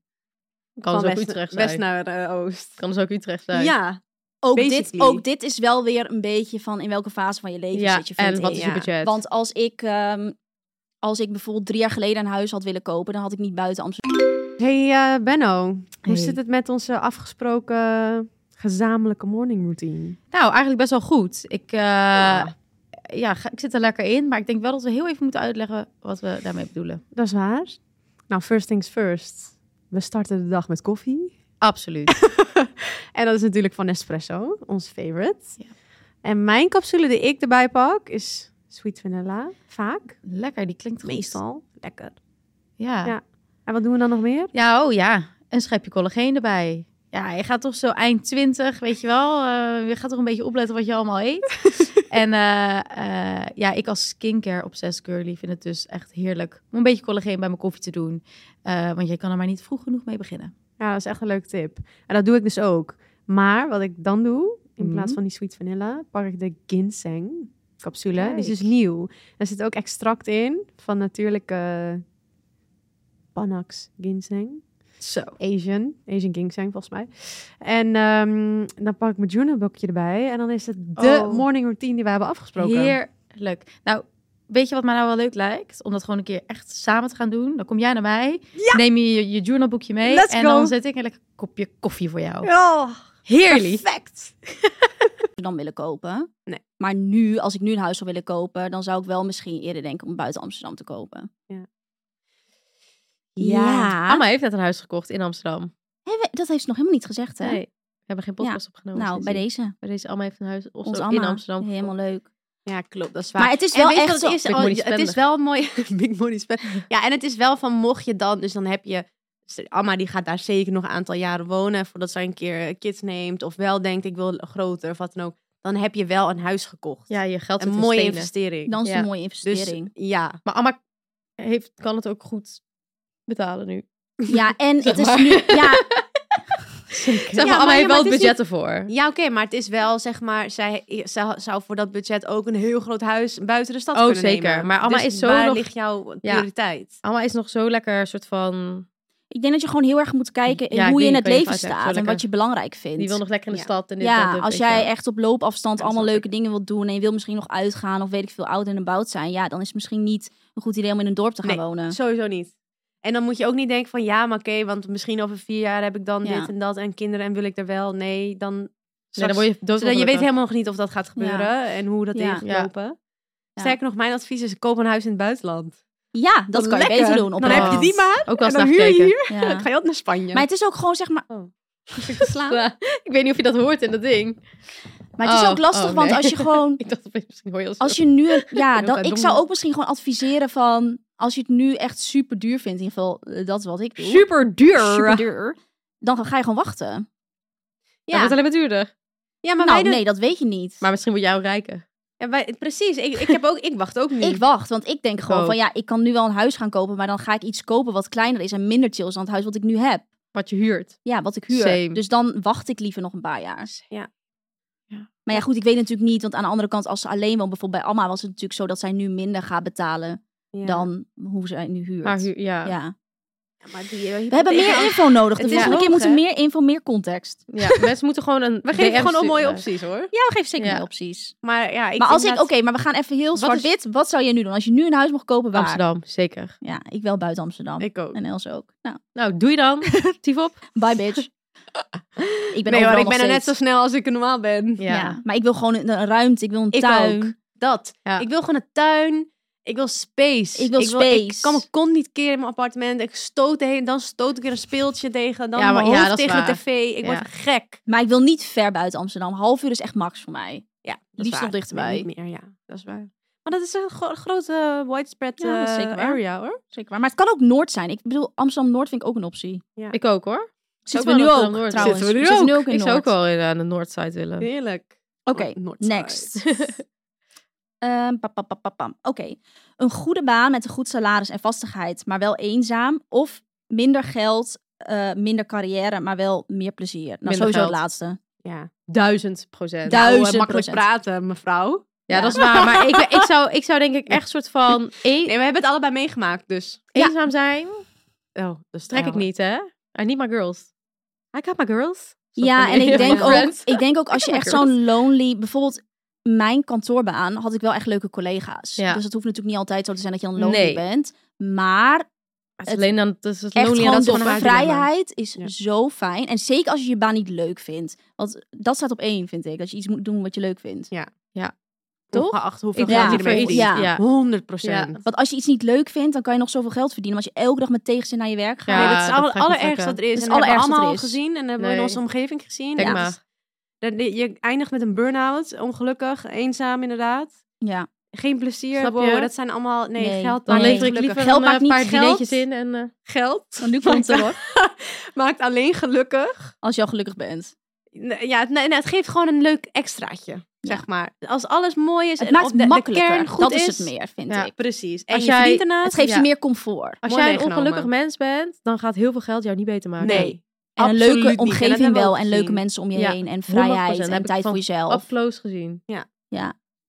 Kan Van dus ook west, Utrecht zijn. west naar eh, oost. Kan dus ook Utrecht zijn. Ja, Ook dit, Basically. ook dit is wel weer een beetje van in welke fase van je leven Ja, zit je. vind en ik. wat is je ja. budget? Want als ik, ehm, als ik bijvoorbeeld drie jaar geleden een huis had willen kopen, dan had ik niet buiten Amsterdam. hey eh, Benno. Hoe Hey. zit het met onze afgesproken gezamenlijke morning routine? Nou, eigenlijk best wel goed. Ik, eh, ja. ga- ik zit er lekker in, maar ik denk wel dat we heel even moeten uitleggen wat we daarmee bedoelen. Dat is waar. Nou, first things first. We starten de dag met koffie. Absoluut. En dat is natuurlijk van Nespresso, ons favorite. Ja. En mijn capsule die ik erbij pak is sweet vanilla. Vaak. lekker, die klinkt goed. Meestal. Lekker. Ja. Ja. ja. En wat doen we dan nog meer? oh ja. Een schepje collageen erbij. Ja, je gaat toch zo eind 20, weet je wel. eh, je gaat toch een beetje opletten wat je allemaal eet. en eh, eh, ja, ik als skincare obsessed girly vind het dus echt heerlijk om een beetje collageen bij mijn koffie te doen. Eh, want je kan er maar niet vroeg genoeg mee beginnen. Ja, dat is echt een leuke tip. En dat doe ik dus ook. Maar wat ik dan doe, in Mhm. plaats van die sweet vanilla, pak ik de ginseng capsule. Die is dus Kijk. nieuw. Er zit ook extract in van natuurlijke Panax ginseng. Zo. Asian, Asian ginseng volgens mij. En ehm, dan pak ik mijn journalboekje erbij. En dan is het de Oh. morning routine die we hebben afgesproken. Heerlijk. Nou, weet je wat mij nou wel leuk lijkt? Om dat gewoon een keer echt samen te gaan doen. Dan kom jij naar mij, neem je je, je journalboekje mee Let's en go. dan zet ik een lekker kopje koffie voor jou. Oh, Heerlijk. perfect. Amsterdam willen kopen. Nee. Maar nu, als ik nu een huis zou willen kopen, dan zou ik wel misschien eerder denken om buiten Amsterdam te kopen. Ja. Ja. Amma heeft net een huis gekocht in Amsterdam. Hé, we- dat heeft ze nog helemaal niet gezegd, hè? Nee, we hebben geen podcast opgenomen. nou, bij sindsdien. deze. bij deze Amma heeft een huis of Ons zo allemaal. in Amsterdam. gekocht. Helemaal leuk. Ja, klopt. Dat is waar. Maar het is En wel weet je echt wat het zo. is? Big Oh, money het is spender. wel mooi. Big money spender. Ja, en het is wel van mocht je dan, dus dan heb je. Amma die gaat daar zeker nog een aantal jaren wonen voordat zij een keer eh, kids neemt of wel denkt ik wil groter of wat dan ook. Dan heb je wel een huis gekocht. Ja, je geld een zit in mooie stenen. investering. Dan is het Ja. een mooie dus investering. ja, Maar Amma heeft, kan het ook goed betalen nu. Ja, en Zeg het is maar. nu... Ja, Zeg Ja, maar, maar- Amma heeft maar wel het het is budget ervoor. Hm? ja oké, maar het is wel zeg maar zij, zij zou voor dat budget ook een heel groot huis buiten de stad Oh, kunnen zeker. nemen. Maar Amma Dus is zo waar nog- ligt jouw Ja. prioriteit? Amma is nog zo lekker een soort van... ik denk dat je gewoon heel erg moet kijken in Ja, ik hoe je weet- in ik het weet niet leven wat ik zeg. Zo staat en lekker. wat je belangrijk vindt. Die wil nog lekker in de Ja. stad. En dit, dat, ja, dit, als weet je jij wel. echt op loopafstand Ja, allemaal snap leuke dingen wilt doen en je wil misschien nog uitgaan of weet ik veel oud en about zijn, ja, dan is het misschien niet een goed idee om in een dorp te gaan Nee, wonen. Sowieso niet. En dan moet je ook niet denken van ja, maar oké, want misschien over vier jaar heb ik dan Ja. dit en dat en kinderen en wil ik er wel. Nee, dan. Nee, straks- dan word je zodat je doodongelukkig. weet helemaal nog niet of dat gaat gebeuren en hoe dat Ja. in gaat lopen. Ja. Sterker nog, mijn advies is: koop een huis in het buitenland. Ja, dat kan je lekker. beter doen. Op Dan heb je Oh. die maar. Ook wel en eens dan huur je nagekeken. hier. Ja. Dan ga je ook naar Spanje. Maar het is ook gewoon zeg maar. Oh. slaan. Ja, ik weet niet of je dat hoort in dat ding. Maar het is Oh, ook lastig, oh, want nee. als je gewoon, Ik dacht opeens, misschien hoor je als als je nu, een- ja, ben dan, ook ik dom. zou ook misschien gewoon adviseren van, als je het nu echt super duur vindt, in ieder geval eh, dat is wat ik doe. super duur. Super duur. Dan ga je gewoon wachten. Ja, het Ja, alleen maar duurder. ja maar wij nou, doen. nee, dat weet je niet. Maar misschien word jij ook rijker. Ja, wij- precies, ik, ik, heb ook, ik wacht ook nu. Ik wacht, want ik denk Oh. gewoon ook. van ja, ik kan nu wel een huis gaan kopen, maar dan ga ik iets kopen wat kleiner is en minder chill is dan het huis wat ik nu heb. Wat je huurt. Ja, wat ik huur. Same. Dus dan wacht ik liever nog een paar jaar. Ja. Ja. Maar ja, goed, ik weet natuurlijk niet. Want aan de andere kant, als ze alleen woont, bijvoorbeeld bij Alma, was het natuurlijk zo dat zij nu minder gaat betalen Ja. dan hoe zij nu huurt. Maar hu- ja. ja. ja. Ja, maar die, eh, We hebben meer hypotheek- info nodig. De Het is volgende keer hoog, moeten hè? meer info, meer context. mensen moeten gewoon een We geven DM gewoon al mooie sturen. opties hoor. Ja, we geven zeker Ja. meer opties. Maar ja, ik maar vind als ik, oké, dat- maar we gaan even heel is- zwart-wit. Wat zou jij nu doen? Als je nu een huis mocht kopen, waar? Amsterdam, zeker. Ja, ik wel buiten Amsterdam. Ik ook. En Els ook. Nou, Nou, doe je dan. Tief op. bye bitch. ik ben nee hoor, overal ik nog ben er net steeds. zo snel als ik er normaal ben. Ja. maar ik wil gewoon een, een ruimte, ik wil een Ik tuin. ook. Dat. Ja. Ik wil gewoon een tuin. Ik wil space. Ik wil ik space. kan mijn kont niet keren in mijn appartement. Ik stoot heen, dan stoot ik weer een speeltje tegen. Dan Ja, maar- mijn ja, hoofd dat is tegen de waar. tv. Ik Ja. word gek. Maar ik wil niet ver buiten Amsterdam. Half uur is echt max voor mij. Ja, dat is liefst waar. nog dichterbij. Nee, Niet meer, ja. Dat is waar. Maar dat is een gro- grote widespread Ja, dat is eh, zeker waar. area hoor. Zeker waar. Maar het kan ook Noord zijn. Ik bedoel, Amsterdam-Noord vind ik ook een optie. Ik ook hoor. Zitten Ook we nu wel ook, Amsterdam-Noord. trouwens. Zitten we nu ook in ik zou ook Noord. wel in- aan de Noordside willen. Heerlijk. Oké, Noordside. next. Ehm, pam, pam, pam, pam, pam. Oké. Een goede baan met een goed salaris en vastigheid, maar wel eenzaam. Of minder geld, eh, minder carrière, maar wel meer plezier. Nou, Minder sowieso geld. het laatste. Ja. Duizend procent. Duizend Nou, eh, makkelijk procent. praten, mevrouw. Ja, dat is waar. Maar ik, ik, zou, ik zou denk ik echt soort van een, Nee, we hebben het allebei meegemaakt, dus. eenzaam zijn. Oh, dat trek ik Ja. niet, hè? I need my girls. I got my girls. Zo Ja, van en die- ik denk, van ook, Friends. ik denk ook als je heb echt mijn zo'n lonely... Bijvoorbeeld mijn kantoorbaan had ik wel echt leuke collega's. Ja. Dus het hoeft natuurlijk niet altijd zo te zijn dat je dan lonely Nee. bent. Maar Het is het- alleen dan het is het echt lonely en gewoon dat is de gewoon haar dilemma. vrijheid is Ja. zo fijn. En zeker als je je baan niet leuk vindt. Want dat staat op één, vind ik. Dat je iets moet doen wat je leuk vindt. Toch? Ongeacht hoeveel Ik geld denk je ermee voor verdient. iets, ja. 100 procent. Want als je iets niet leuk vindt, dan kan je nog zoveel geld verdienen. Maar als je elke dag met tegenzin naar je werk gaat. Ja, nee, dat is dat al- gaat het niet allerergste lukken. wat er is. Dat is en dat hebben we allerergste wat er allemaal al is. gezien en dat hebben we in Nee. onze omgeving gezien. Denk Ja. maar. Dus dat- Je eindigt met een burn-out, ongelukkig, eenzaam inderdaad. Ja. Geen plezier. Snap je? Wow, dat zijn allemaal... Nee, Nee. geld Dan Nee. alleen lever ik gelukkig. liever Geld dan, eh, maakt een niet paar geld. dinertjes in. En, eh, Geld Want nu komt het erop. maakt alleen gelukkig. Als je al gelukkig bent. Nee, Ja, het, nee, nee, het geeft gewoon een leuk extraatje, zeg maar. Als alles mooi is Het en maakt of het de, de makkelijker. kern goed dat is... is het meer, vind Ja. ik. Precies. En Als je jij- verdient ernaast... Het geeft Ja. je meer comfort. als Mooi jij een meegenomen. ongelukkig mens bent, dan gaat heel veel geld jou niet beter maken. Nee. En een absoluut leuke niet. En dat omgeving hebben we wel. ook En leuke gezien. mensen om je Ja, heen. En 100% vrijheid. heb En ik tijd van voor jezelf. Up close gezien.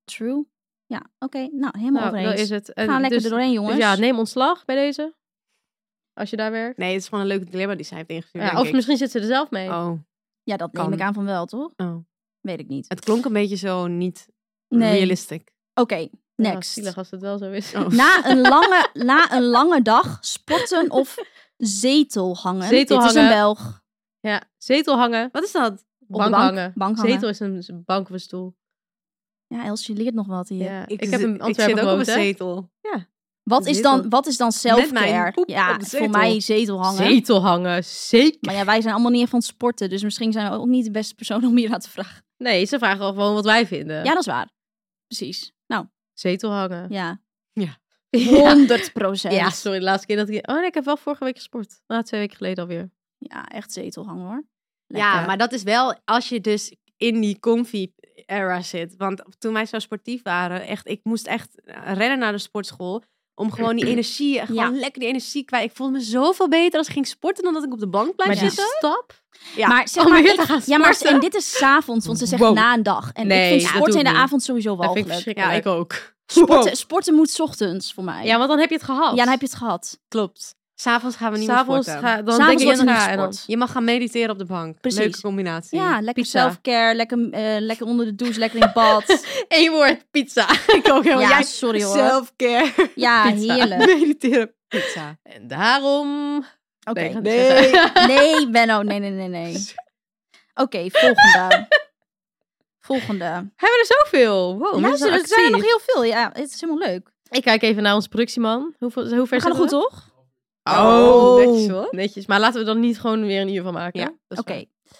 True. Ja, oké. Nou, helemaal Nou, dat overeen. is het. En Gaan lekker dus- er doorheen, dus jongens. ja, neem ontslag bij deze. Als je daar werkt. Nee, het is gewoon een leuk dilemma die zij heeft ingestuurd, Ja, denk of ik. misschien zit ze er zelf mee. Oh, Ja, dat neem Kan. ik aan van wel, toch? oh. Weet ik niet. Het klonk een beetje zo niet Nee. Oké, realistic. Nou, next. zielig als het wel zo is. Oh. Na een, lange, na een lange dag sporten of zetel hangen. Zetel Dit is hangen. een Belg. Ja, zetel hangen. Wat is dat? de bank, bank. hangen. Bank hangen. Zetel is een is een bank of een stoel. Ja, Els, je leert nog wat hier. Ja. Ik, heb zi- een ik zit Antwerpen ook op een gewoond, hè. zetel. Wat, is Zetel. dan, wat is dan Met self-care? mijn poep Ja, op de voor zetel. mij zetel hangen. Zetel hangen, zeker. Maar ja, wij zijn allemaal niet echt van het sporten. Dus misschien zijn we ook niet de beste persoon om hier aan te vragen. Nee, ze vragen al gewoon wat wij vinden. Ja, dat is waar. Precies. Nou, Zetel hangen. ja. Ja. 100 procent. Ja, sorry, de laatste keer dat ik... Oh nee, ik heb wel vorige week gesport. Nou, twee weken geleden alweer. echt zetel hangen hoor. Ja, maar dat is wel als je dus in die comfy era zit. Want toen wij zo sportief waren, echt, ik moest echt eh, rennen naar de sportschool. Om gewoon die energie, gewoon lekker die energie kwijt. Ik voelde me zoveel beter als ik ging sporten dan dat ik op de bank blijf Maar die zitten. Oh stap... Ja. Maar zeg Om maar, weer ik- te gaan ja, maar Oh, sporten? en dit is 's avonds, want ze zegt Wow. na een dag. En Nee, ik vind ja, dat sporten doe in ik de niet. avond sowieso Dat vind ik walgelijk. Ja, verschrikkelijk. ik ook. Sporten, sporten moet 's ochtends voor mij. Ja, want dan heb je het gehad. Ja, dan heb je het gehad. Klopt. S'avonds gaan we niet S'avonds meer sporten. ga, dan S'avonds denk je wordt er niet na en dan... gesport. Je mag gaan mediteren op de bank. Precies. Leuke combinatie. Ja, lekker Pizza. self-care, lekker, eh, lekker onder de douche, lekker in bad. Eén woord, pizza. ik ook heel ja, jij sorry hoor. Eh. Self-care. ja, pizza. heerlijk. mediteren. Pizza. En daarom... Oké. Nee, Nee. Nee, Benno, nee, nee, nee, nee. Oké, volgende. Volgende. Hebben we Oh, er zoveel? Wow, mensen Luister, zijn er zijn nog actief. heel veel. Ja, het is helemaal leuk. Ik kijk even naar onze productieman. Hoe, hoe ver We gaan zitten er goed, toch? Oh, netjes hoor. Netjes, maar laten we er dan niet gewoon weer een uur van maken. Ja, hè? Dat is Oké. waar.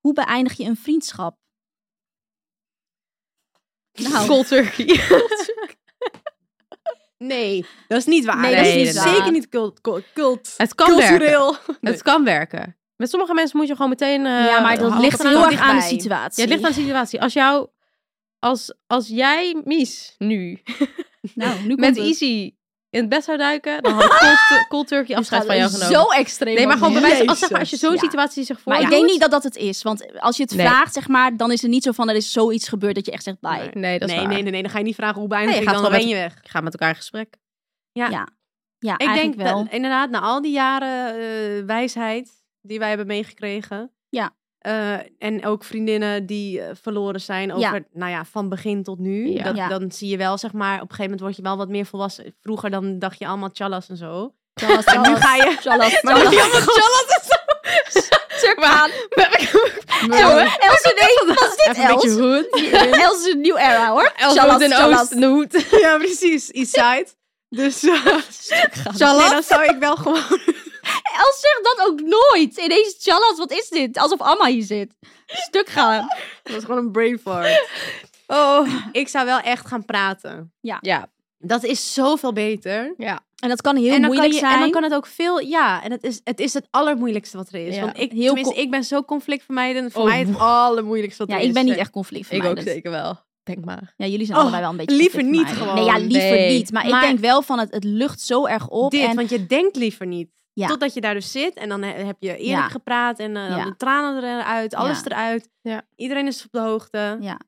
Hoe beëindig je een vriendschap? Nou, Cold turkey. Nee, dat is niet waar. Nee, dat is niet waar. zeker niet cult, cult, cult- het kan werken. cultureel. Het kan werken. Met sommige mensen moet je gewoon meteen... eh, ja, maar dat hand ligt eraan heel doen. erg aan de dichtbij. situatie. Ja, het ligt aan de situatie. Als jou... Als, als jij, Mies, nu... Nou, nu met iets. Easy in het bed zou duiken, dan had ik cold, cold turkey afscheid van jou genomen. Zo extreem. nee, maar gewoon bij bewijzen. wijze als, zeg maar, als je Jezus. zo'n Ja. situatie zich Maar voordoet. ik denk niet dat dat het is. Want als je het Nee. vraagt, zeg maar, dan is er niet zo van er is zoiets gebeurd dat je echt zegt bye. Nee, dat is nee, waar. nee, nee, nee, dan ga je niet vragen hoe bijna Nee, je ik gaat dan gewoon ben je weg. Ik ga met elkaar in gesprek. Ja. Ja, ja Ik denk eigenlijk wel. dat, inderdaad, na al die jaren eh, wijsheid die wij hebben meegekregen. Ja. eh, en ook vriendinnen die eh, verloren zijn over, nou ja, van begin tot nu. Ja. Dat, Ja. Dan zie je wel, zeg maar, op een gegeven moment word je wel wat meer volwassen. Vroeger dan dacht je allemaal challahs en zo. Charles, En nu ga je... Charles, Maar nu Charles. ga je allemaal Maar, Zo, Else, nee, wat is dit, even een beetje Els? hoed. Els is een nieuw era, hoor. Els Charles, hoed en Charles. oost in de hoed. Ja, precies. Eastside. Dus eh, nee, Charles? dan zou ik wel gewoon... Els zegt dat ook nooit. Ineens, Charles, wat is dit? Alsof Amma hier zit. Stuk gaan. Dat was gewoon een brain fart. Oh. Ik zou wel echt gaan praten. Ja. Dat is zoveel beter. En dat kan heel en dan moeilijk kan je, zijn. En dan kan het ook veel, ja. En het is het, is het allermoeilijkste wat er is. Ja. Want ik, Heel tenminste, co- ik ben zo conflictvermijdend. Voor Oh. mij het allermoeilijkste wat ja, er is. ik ben niet echt conflict Ik ook zeker wel. Denk maar. Ja, jullie zijn Oh, allebei wel een beetje liever niet conflictvermijdend. gewoon. Nee, ja, liever Nee. niet. Maar, Maar- ik denk wel van het, het lucht zo erg op. Dit, en want je denkt liever niet. Ja. Totdat je daar dus zit en dan he- heb je eerlijk Ja. gepraat en eh, dan Ja. de tranen eruit, alles eruit. Ja. Iedereen is op de hoogte. Ja.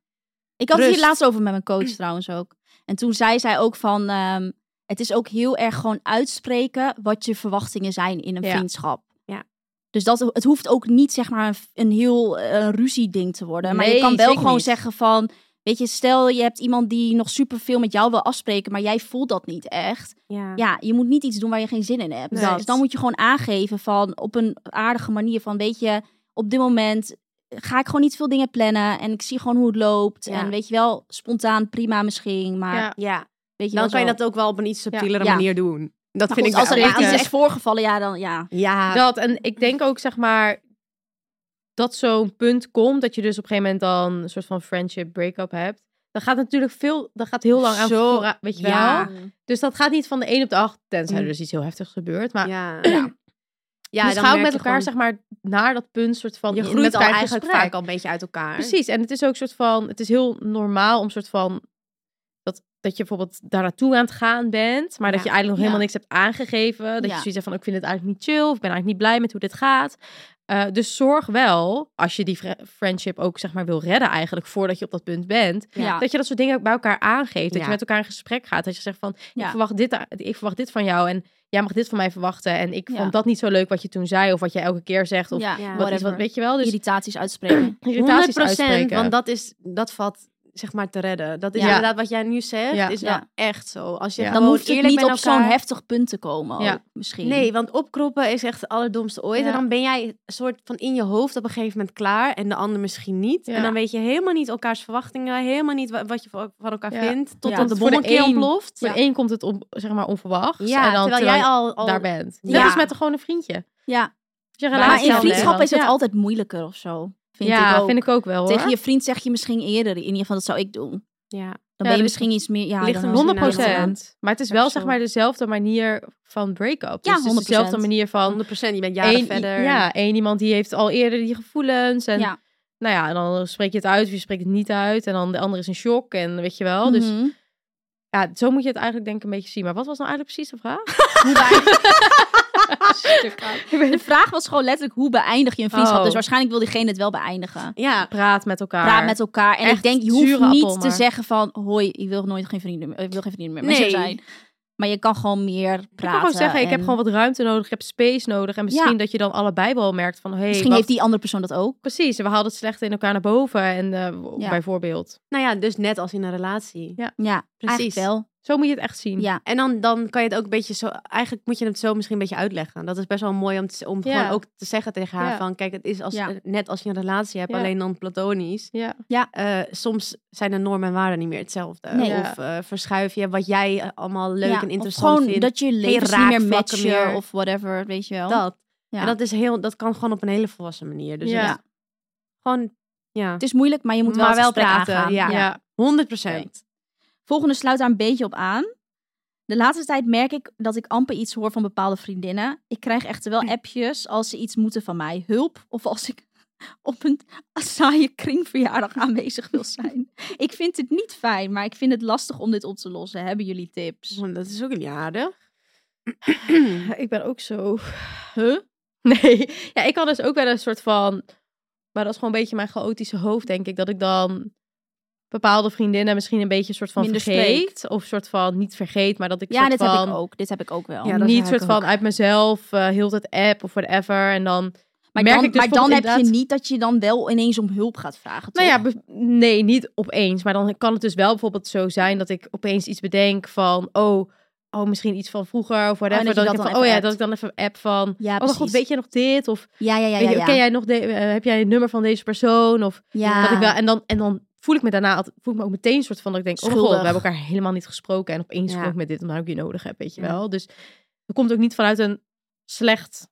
Ik had het hier Rust. laatst over met mijn coach trouwens ook. En toen zei zij ook van... ehm, het is ook heel erg gewoon uitspreken wat je verwachtingen zijn in een Ja. vriendschap. Ja. Dus dat, het hoeft ook niet zeg maar een, een heel eh, ruzieding te worden. Maar je Nee, kan wel zeker gewoon niet. zeggen van... Weet je, stel je hebt iemand die nog superveel met jou wil afspreken... maar jij voelt dat niet echt. Ja. Ja, je moet niet iets doen waar je geen zin in hebt. Nee. Dus dan moet je gewoon aangeven van op een aardige manier van weet je, op dit moment ga ik gewoon niet veel dingen plannen en ik zie gewoon hoe het loopt Ja. en weet je wel spontaan prima misschien, maar Ja. Ja. weet je Dan wel kan je zo. dat ook wel op een iets subtielere Ja. manier doen. Dat Maar vind goed, ik als er wel. echt Ja. iets is voorgevallen, ja dan ja. Ja. Dat, en ik denk ook, zeg maar, dat zo'n punt komt dat je dus op een gegeven moment dan een soort van friendship break-up hebt. Dat gaat natuurlijk veel, dat gaat heel lang aan Zo- voorra- weet je Ja. wel. Dus dat gaat niet van de 1 op de 8, tenzij er Mm. dus iets heel heftigs gebeurt. Maar Ja. ja, dus dan ga ook merk met je elkaar, gewoon- zeg maar, naar dat punt soort van, Je in- groeit met al elkaar in eigenlijk gesprek. vaak al een beetje uit elkaar. Precies, en het is ook soort van, het is heel normaal om soort van, dat, dat je bijvoorbeeld daar naartoe aan het gaan bent, maar dat Ja. je eigenlijk nog Ja. helemaal niks hebt aangegeven. Dat Ja. je zoiets hebt van, ik vind het eigenlijk niet chill, of ik ben eigenlijk niet blij met hoe dit gaat. Eh, dus zorg wel, als je die fri- friendship ook zeg maar wil redden eigenlijk, voordat je op dat punt bent, Ja. dat je dat soort dingen ook bij elkaar aangeeft. Dat Ah. Ja. je met elkaar in gesprek gaat, dat je zegt van, Ja. ik, verwacht dit, ik verwacht dit van jou en jij mag dit van mij verwachten. En ik Ja. vond dat niet zo leuk wat je toen zei, of wat je elke keer zegt, of ja, wat is wat is whatever. wat, weet je wel. Dus irritaties uitspreken. irritaties 100%, uitspreken. want dat is dat valt zeg maar te redden. Dat is Ja. inderdaad wat jij nu zegt, Ja. is Ja. wel echt zo. Als je Ja. dan gewoon hoeft het eerlijk niet met op zo'n elkaar- heftig punt te komen Ja. ook, misschien. Nee, want opkroppen is echt het allerdomste ooit. Ja. En dan ben jij een soort van in je hoofd op een gegeven moment klaar en de ander misschien niet. Ja. En dan weet je helemaal niet elkaars verwachtingen, helemaal niet wa- wat je van van elkaar Ja. vindt, totdat Ja. de Voor de bom een keer een- ontploft. Voor de een komt het on- zeg maar onverwachts. Dus Ja, en dan, terwijl, jij al, al daar bent. Ja. Net als met gewoon een vriendje. Ja. Als je een Maar relatie in hebt, vriendschap dan- is het ja. altijd moeilijker of zo. Vind ja, ik ook. vind ik ook wel hoor. Tegen je vriend zeg je misschien eerder. In ieder geval, dat zou ik doen. Dan Ja. ben je dus misschien iets meer... Ja, ligt dan er wel 100 100%. iets meer aan. Maar het is wel Echt zeg zo. maar dezelfde manier van break-up. Ja, dus het is 100%. dezelfde manier van... 100%, je bent jaren één i- verder. ja, één iemand die heeft al eerder die gevoelens. En Ja. nou ja, en dan spreek je het uit of je spreekt het niet uit. En dan de ander is in shock en weet je wel. Dus Mhm. ja, zo moet je het eigenlijk denk ik een beetje zien. Maar wat was nou eigenlijk precies de vraag? Hoe beëindig- De vraag was gewoon letterlijk hoe beëindig je een vriendschap. Oh. Dus waarschijnlijk wil diegene het wel beëindigen. Ja. Praat met elkaar. Praat met elkaar. En ik Echt denk, je zure hoeft niet appel, te maar. zeggen van... Hoi, ik wil nooit geen vrienden meer. Ik wil geen vrienden meer met Nee. je zijn. Maar je kan gewoon meer praten. Ik kan gewoon zeggen, ik en heb gewoon wat ruimte nodig, ik heb space nodig. En misschien Ja. dat je dan allebei wel merkt van, hey, Misschien wacht, heeft die andere persoon dat ook. precies, we haalden het slecht in elkaar naar boven. En eh, w- Ja. bijvoorbeeld. Nou ja, dus net als in een relatie. Ja. Ja, Precies. eigenlijk wel. Zo moet je het echt zien. Ja. En dan, dan kan je het ook een beetje zo... Eigenlijk moet je het zo misschien een beetje uitleggen. Dat is best wel mooi om, te- om Ja. gewoon ook te zeggen tegen haar Ja. van... Kijk, het is als, Ja. eh, net als je een relatie hebt, Ja. alleen dan platonisch. Ja. Eh, soms zijn de normen en waarden niet meer hetzelfde. Nee. Of eh, verschuif je wat jij eh, allemaal leuk Ja, en of interessant gewoon vindt. dat je levens niet meer raakvlakken matchen meer. of whatever, weet je wel. Dat. Ja. En dat, is heel, dat kan gewoon op een hele volwassen manier. Dus Ja. het is gewoon... Ja, Het is moeilijk, maar je moet wel, Maar het wel gesprek praten, aangaan. ja. 100 procent. Volgende sluit daar een beetje op aan. De laatste tijd merk ik dat ik amper iets Hm. hoor van bepaalde vriendinnen. Ik krijg echter wel appjes als ze iets moeten van mij. Hulp of als ik op een saaie kringverjaardag aanwezig wil zijn. Ik vind het niet fijn, maar ik vind het lastig om dit op te lossen. Hebben jullie tips? Dat is ook niet aardig. Ik ben ook zo. Huh? Nee, ja, ik had dus ook wel een soort van. Maar dat is gewoon een beetje mijn chaotische hoofd, denk ik. Dat ik dan bepaalde vriendinnen misschien een beetje een soort van Minder vergeet. Of soort van niet vergeet, maar dat ik Ja, soort dit van... heb ik ook. Dit heb ik ook wel. Ja, dat niet heb soort ik van ook. uit mezelf, eh heel het app of whatever. En dan, maar merk dan, ik dus maar dan heb bijvoorbeeld je inderdaad- niet dat je dan wel ineens om hulp gaat vragen. nou ja, toch? be- nee, niet opeens. Maar dan kan het dus wel bijvoorbeeld zo zijn dat ik opeens iets bedenk van, oh, oh misschien iets van vroeger of whatever. dat je dat dat ik dan heb van, even oh ja, appt. dat ik dan even app van, ja, oh mijn god, weet je nog dit? Of Ja, ja, ja, weet ja. je, ja. ken jij nog de- eh, heb jij het nummer van deze persoon? Of ja. Dat ik wel, en, dan, en dan voel ik me daarna altijd, voel ik me ook meteen een soort van dat ik denk, oh Schuldig. god, we hebben elkaar helemaal niet gesproken. En opeens Ja. kom ik met dit, omdat ik je nodig heb, weet je Ja. wel. Dus dat komt ook niet vanuit een slecht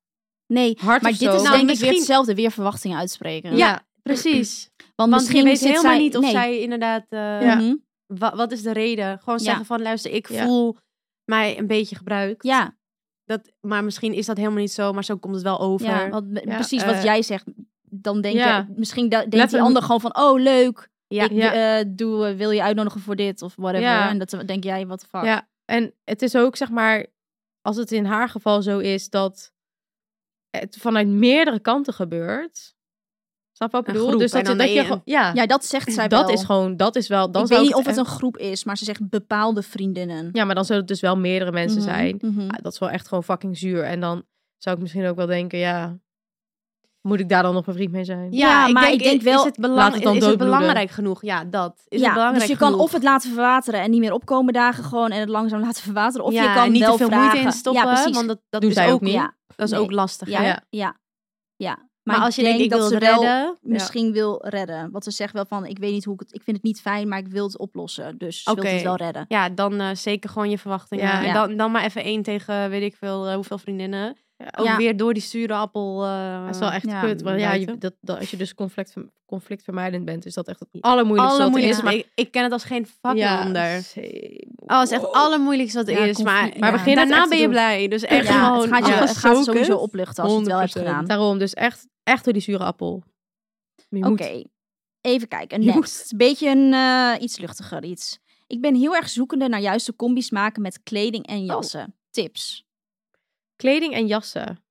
Nee, hart maar of dit zo. is Nou, denk ik misschien- weer hetzelfde. Weer verwachtingen uitspreken. Ja, precies. want, Want je misschien weet zit helemaal zij- niet of nee. zij inderdaad... eh, Ja. Mhm. wa- wat is de reden? Gewoon Ja. zeggen van, luister, ik Ja. voel mij een beetje gebruikt. ja. Dat, maar misschien is dat helemaal niet zo, maar zo komt het wel over. Ja, want me- Ja, precies wat eh, jij zegt. Dan denk ja. je, misschien da- denkt die Letterlijk- ander gewoon van, oh leuk, Ja. ik Ja. eh, doe, eh, wil je uitnodigen voor dit of whatever. Ja. En dat denk jij, wat fuck. Ja, en het is ook zeg maar, als het in haar geval zo is dat het vanuit meerdere kanten gebeurt. Snap je wat ik Een bedoel? groep dus en dat, dan dat je één. gewoon, ja, Ja, dat zegt zij dat wel. is gewoon, dat is wel. Dan ik zou weet niet of het het een groep is, maar ze zegt bepaalde vriendinnen. Ja, maar dan zullen het dus wel meerdere mensen Mhm, zijn. mhm. Ah, dat is wel echt gewoon fucking zuur. En dan zou ik misschien ook wel denken, ja, moet ik daar dan nog mijn vriend mee zijn? Ja, ik maar denk, ik denk wel, is het, belang, laat het dan is het doodbloeden. belangrijk genoeg? Ja, dat. Is het ja, belangrijk dus je kan genoeg? of het laten verwateren en niet meer opkomen dagen gewoon en het langzaam laten verwateren. Of Ja, je kan en niet wel te veel vragen. moeite in stoppen, ja, precies. want dat, dat Doen is zij ook ook, niet. Ja, Dat is Nee. ook lastig. ja, hè? ja, Ja. ja. Maar, als je ik denkt, ik denk wil dat het ze wel redden... misschien wil redden. Want ze zegt wel van, ik weet niet hoe ik het, ik vind het niet fijn, maar ik wil het oplossen. Dus ze Oké. wil het wel redden. Ja, dan eh, zeker gewoon je verwachtingen. Ja. En Ja. dan, dan maar even één tegen, weet ik veel, eh, hoeveel vriendinnen. Ja. Ook Ja. weer door die zure appel. eh, Dat is wel echt Ja, kut. Want ja, je, buiten. dat, dat, als je dus conflict, conflictvermijdend bent, is dat echt het allermoeilijkste wat er allermoeilijkste. is. Maar, ik, ik ken het als geen fucking onder. zee- Oh, het is echt het allermoeilijkste wat er Ja, is. Maar, conflict- Maar ja. begin het daarna echt te ben je doen. blij. Dus echt Ja, gewoon... het gaat je, ja. echt het gaat je zo sowieso kut. oplichten als je het wel hebt gedaan. Daarom, dus echt, echt door die zure appel. Je Oké, moet- even kijken. Je Next. moet. Een beetje een eh, iets luchtiger iets. Ik ben heel erg zoekende naar juiste combis maken met kleding Oh. en jassen. Tips. Kleding en jassen.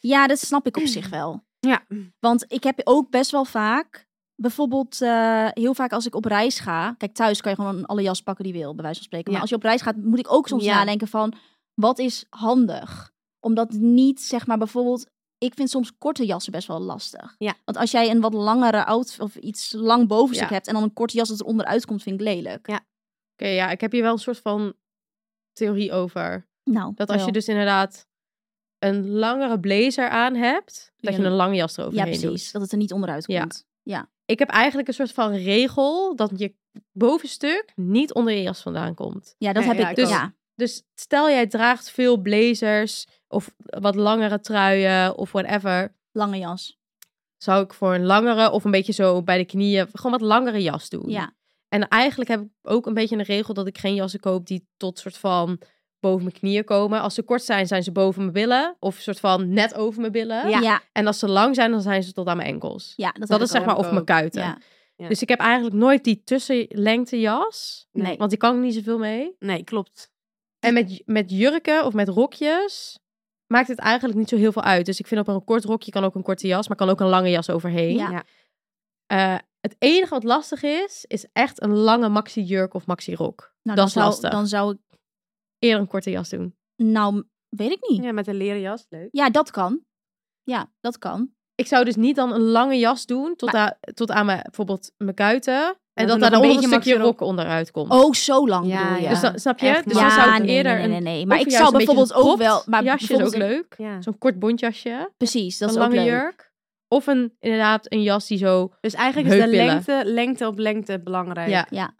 Ja, dat snap ik op zich wel. Ja. Want ik heb ook best wel vaak, bijvoorbeeld eh, heel vaak als ik op reis ga. Kijk, thuis kan je gewoon alle jas pakken die je wil, bij wijze van spreken. Maar Ja. als je op reis gaat, moet ik ook soms Ja. nadenken van, wat is handig? Omdat niet, zeg maar, bijvoorbeeld, ik vind soms korte jassen best wel lastig. Ja. Want als jij een wat langere outfit of iets lang bovenstuk Ja. hebt en dan een korte jas dat eronder uitkomt, vind ik lelijk. Ja. Oké, ja, ik heb hier wel een soort van theorie over. Nou, Dat als je wel. dus inderdaad een langere blazer aan hebt, dat Ja. je een lange jas Ja, eroverheen precies. doet. Dat het er niet onderuit Ja. komt. ik heb eigenlijk een soort van regel dat je bovenstuk niet onder je jas vandaan komt. Ja, dat Nee, heb ja, ik. ik Dus, ook. ja. Dus stel jij draagt veel blazers of wat langere truien of whatever, lange jas. zou ik voor een langere of een beetje zo bij de knieën gewoon wat langere jas doen. Ja. En eigenlijk heb ik ook een beetje een regel dat ik geen jassen koop die tot soort van boven mijn knieën komen. Als ze kort zijn, zijn ze boven mijn billen of soort van net over mijn billen. Ja. Ja, ja, En als ze lang zijn, dan zijn ze tot aan mijn enkels. dat, Dat heb is ik zeg ook. maar over mijn kuiten. Ja. Ja. Dus ik heb eigenlijk nooit die tussenlengte jas. Nee. Want die kan ik niet zoveel mee. Nee, klopt. En met, met jurken of met rokjes maakt het eigenlijk niet zo heel veel uit. Dus ik vind op een kort rokje kan ook een korte jas, maar kan ook een lange jas overheen. Ja. Ja. Eh, het enige wat lastig is, is echt een lange maxi jurk of maxi rok. Nou, dat dan is zou, lastig. Dan zou ik, Eerder een korte jas doen. nou, m- weet ik niet. Ja, Ja, met een leren jas. Leuk. dat kan. Ja, dat kan. Ik zou dus niet dan een lange jas doen tot, aan, tot aan mijn, bijvoorbeeld mijn kuiten. En er nog dat, daar een dan een beetje stukje maxi rok- rok onderuit komt. Oh, zo lang Ja, bedoel je. ja. Dus dan, snap je? Echt dus dan makkelijk. ja, zou ik nee, eerder nee, een nee, nee. Maar Of ik juist zou een beetje bijvoorbeeld ook wel... gekropt Maar jasje is ook bijvoorbeeld- leuk. Ja. Zo'n kort bontjasje. Precies, dat een is ook lange leuk. jurk. Of een, inderdaad, een jas die zo... Dus eigenlijk is de Heuppillen. lengte, lengte op lengte belangrijk. Ja.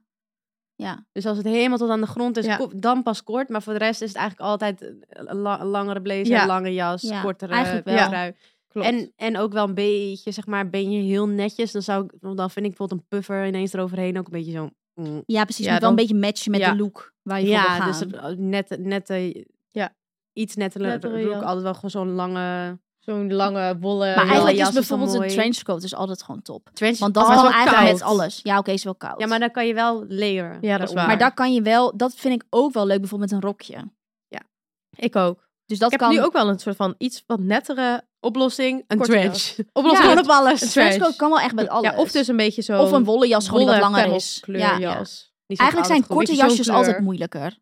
Dus als het helemaal tot aan de grond is, Ja. ko- dan pas kort. Maar voor de rest is het eigenlijk altijd een la- een langere blazer, Ja. lange jas, Ja, kortere eigenlijk wel. trui. Klopt. En, en ook wel een beetje, zeg maar, ben je heel netjes. Dan, zou ik, want dan vind ik bijvoorbeeld een puffer ineens eroverheen ook een beetje zo... mm. Ja, precies. Ja, moet wel een dan- beetje matchen met ja. de look waar je voor wil Ja, gaan. dus het- net, net, Ja. iets nettere Nettere roek. jas. Altijd wel gewoon zo'n lange... Zo'n lange, wollen... Maar wel eigenlijk is jassen van bijvoorbeeld een mooi. trenchcoat is altijd gewoon top. Trench- Want dat maar kan wel eigenlijk koud. met alles. Ja, oké, is wel koud. Ja, maar dan kan je wel layeren. Ja, dat is eronder. waar. Maar daar kan je wel, dat vind ik ook wel leuk, bijvoorbeeld met een rokje. Ik ook. Dus dat ik heb kan. nu ook wel een soort van iets wat nettere oplossing. Een korte trench. jas. Los Oplossing gewoon met- op alles. Een een trenchcoat trench. kan wel echt met alles. Ja, of dus een beetje zo'n... of een wollen jas gewoon die wat langer is. Ja. Ja, jas. Die zijn Eigenlijk zijn altijd goed. korte beetje zo'n jasjes altijd kleur. moeilijker.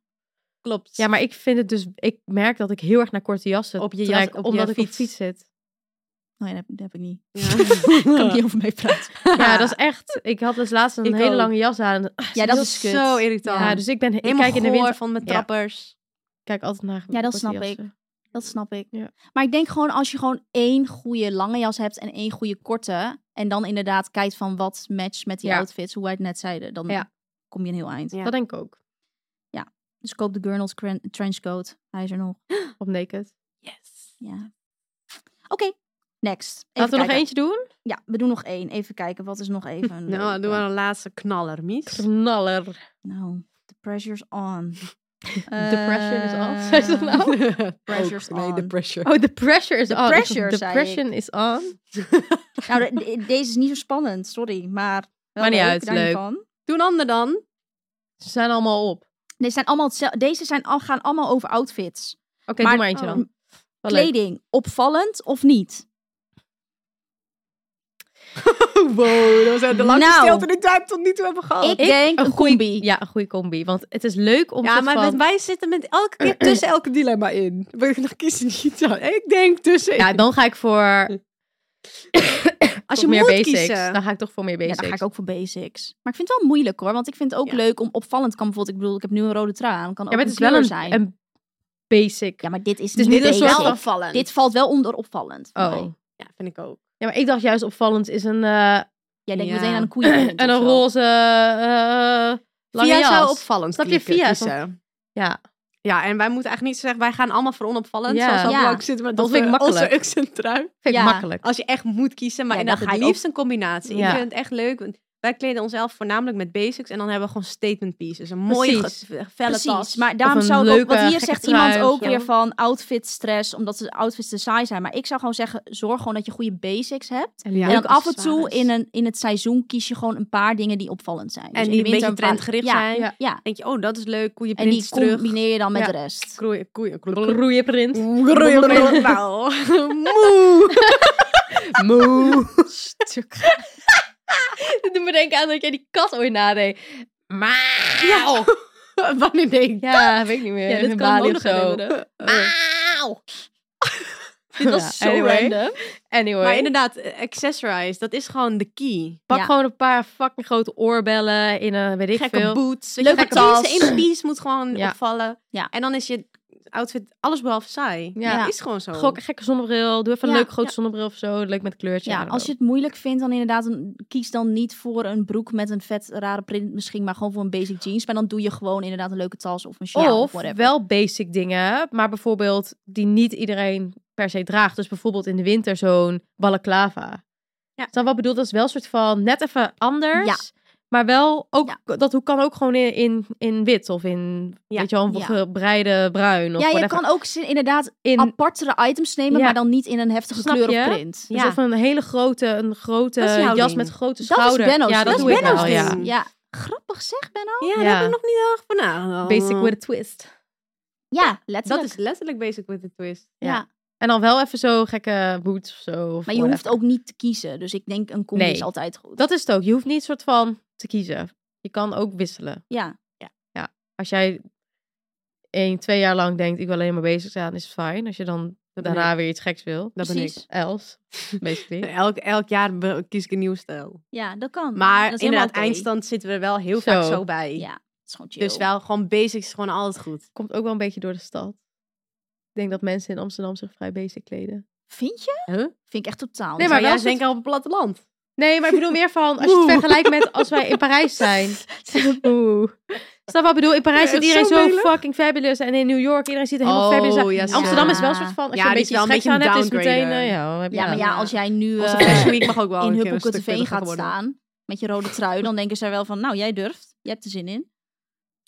Klopt. ja, maar ik vind het dus... Ik merk dat ik heel erg naar korte jassen Op je jas- trek, op je omdat ik op fiets. fiets zit. Nee, Oh dat heb, dat heb ik niet. Ja. Daar kan ik niet over mee praten. Ja, dat is echt... Ik had dus laatst een Ik hele ook. lange jas aan. Dus Ja, dat is kut. zo irritant. Ja, dus ik ben... Ik Helemaal kijk in de winter... van met Ja. trappers. Ik kijk altijd naar Ja, dat korte snap ik. jassen. Dat snap ik. Ja. Maar ik denk gewoon als je gewoon één goede lange jas hebt en één goede korte. En dan inderdaad kijkt van wat matcht met die Ja. outfits, hoe wij het net zeiden. Dan Ja. kom je een heel eind. Ja. Dat denk ik ook. Dus koop de Gurnals cren- trenchcoat. Hij is er nog. Op naked. Yes. Ja. Oké, next. Even Laten we nog kijken. eentje doen. Ja, we doen nog één. Even kijken, wat is nog even? Nou, dan doen we leuk? een laatste knaller, Mies. Knaller. Nou, the pressure's on. Eh, The pressure Eh, is off, zei ze nou? Pressure's Ook, nee, de on. pressure. Oh, the pressure is The on. pressure, the zei pressure is on. Nou, de- de- deze is niet zo spannend, sorry. Maar wel Maar niet leuk, uit, daar niet leuk. van. Doe een ander dan. Ze zijn allemaal op. Deze, zijn allemaal hetzelfde- deze zijn, al- gaan allemaal over outfits. Oké, doe maar eentje dan. Wel leuk. ehm, Kleding, opvallend of niet? wow, dat was de langste Nou. stilte die ik tot nu toe hebben gehad. Ik denk een goeie- combi. Ja, een goede combi. Want het is leuk om ja, soort maar van... met- wij zitten met elke keer tussen elke dilemma in. We nog kiezen niet aan. Ik denk tussen. Ja, dan ga ik voor, als je voor meer moet basics. kiezen. Dan ga ik toch voor meer Ja, basics. dan ga ik ook voor basics. Maar ik vind het wel moeilijk hoor, want ik vind het ook Ja. leuk om opvallend kan bijvoorbeeld, ik bedoel, ik heb nu een rode traan, kan Ja, ook maar een het is kleur wel een, zijn. een basic. Ja, maar dit is, Het is niet niet een soort basic. van- opvallend. Dit valt wel onder opvallend. voor mij. Oh. ja, vind ik ook. Ja, maar ik dacht juist opvallend is een, eh, Jij denkt Ja. meteen aan een koeien. en een roze eh, eh, lange via jas. zou opvallend Snap je? klinken, Via kiezen. Ja. Ja, en wij moeten eigenlijk niet zeggen, wij gaan allemaal voor onopvallend. Ja. Zoals Ja. ja. ook zitten met Dat onze, vind ik onze makkelijk. Uxen-trui. Vind ik Ja. makkelijk. Als je echt moet kiezen, maar Ja, en dat dan ga het ik liefst een combinatie. Ja. Ik vind het echt leuk, want wij kleden onszelf voornamelijk met basics en dan hebben we gewoon statement pieces. Een mooie, Precies. ge- felle tas. Precies, maar daarom een zou ik ook, leuke, want hier gekke zegt trui iemand of ook zo. weer van outfit stress, omdat de outfits te saai zijn. Maar ik zou gewoon zeggen, zorg gewoon dat je goede basics hebt. En, ja, en dat ook af en is toe waar. dus. in, een, in het seizoen kies je gewoon een paar dingen die opvallend zijn. Dus En in die de een beetje winter paar- trendgericht ja, zijn. Ja. Ja, Denk je, oh, dat is leuk, koeien en die prins terug. combineer je dan met Ja. de rest. Koeien, koeien, koeien. Roeie print. Koeien, koeien, nou. Moe. Moe. Stuk. Dit doet me denken aan dat jij die kat ooit nadeed. Maar. Ja. Wanneer denk je? Ja, weet ik niet meer. Ja, In dit kan Bali ik me of ook nog zo. Ah, herinneren. Auw. Dit was Ja, zo anyway. random. Anyway. Maar inderdaad, eh, accessorize, dat is gewoon de key. Pak Ja. gewoon een paar fucking grote oorbellen in een weet ik gekke veel. boots. Leuke Leuke tas. tas. Eén piece moet gewoon Ja. opvallen. Ja. En dan is je outfit alles behalve saai. Ja. Ja. Dat is gewoon zo. Gok, een gekke zonnebril. Doe even een Ja, leuke grote zonnebril of zo. Leuk met een kleurtje. I Ja, don't als je know. het moeilijk vindt, dan inderdaad, een- kies dan niet voor een broek met een vet rare print misschien, maar gewoon voor een basic jeans. Maar dan doe je gewoon inderdaad een leuke tas of een sjaal of of whatever. wel basic dingen, maar bijvoorbeeld die niet iedereen per se draagt. Dus bijvoorbeeld in de winter zo'n balaclava. Ja. Ja. Dan wat bedoeld, dat is wel een soort van net even anders. Maar wel ook, dat hoe kan ook gewoon in, in, in wit of in, Ja. weet je wel, een Ja. gebreide bruin. Of Ja, je whatever. kan ook zin- inderdaad in, apartere items nemen, Ja. maar dan niet in een heftige Snap kleur je? of print. Dus Ja. of een hele grote, een grote Dat is jouw jas ding. met grote Dat schouder. is Benno's. ja, dat, is doe ik Benno's wel, ja. ding. Ja. Grappig zeg, Benno. Ja, daar Ja. heb ik nog niet heel erg van nagedacht. Basic with a twist. Ja, Dat letterlijk. is letterlijk basic with a twist. ja. ja. En dan wel even zo gekke boots of zo. of Maar je whatever. hoeft ook niet te kiezen. Dus ik denk een combi Nee. is altijd goed. Dat is het ook. Je hoeft niet soort van te kiezen. Je kan ook wisselen. Ja. Als jij één, twee jaar lang denkt, ik wil alleen maar bezig zijn, is het fijn. Als je dan Dat ben daarna weer iets geks wil. Dat ben precies. Else, basically. Elk, elk jaar be- kies ik een nieuwe stijl. Ja, dat kan. Maar dat is helemaal inderdaad, oké. eindstand zitten we er wel heel Zo. vaak zo bij. Ja, dat is gewoon chill. Dus wel gewoon basics is gewoon altijd goed. Komt ook wel een beetje door de stad. Ik denk dat mensen in Amsterdam zich vrij basic kleden. Vind je? Huh? Vind ik echt totaal niet. Nee, maar Maar wel jij zit- denkt al op het platteland. Nee, maar ik bedoel meer van, als je het Oeh. vergelijkt met als wij in Parijs zijn. Oeh. Snap wat ik bedoel? In Parijs Ja, zit is iedereen zo zo melig. fucking fabulous. En in New York, iedereen ziet er helemaal fabulous uit. ja, zo. Amsterdam is wel een Ja. soort van, als Ja, je een die is beetje wel iets een geks beetje aan een hebt, is het meteen... downgrader. eh, ja, dan heb je Ja, maar dat. ja, als jij nu Onze eh, Fashion Week mag ook wel in een keer een Huppelkot stuk TV pittiger gaat worden. staan met je rode trui, dan denken zij wel van, nou, jij durft. Je hebt er zin in.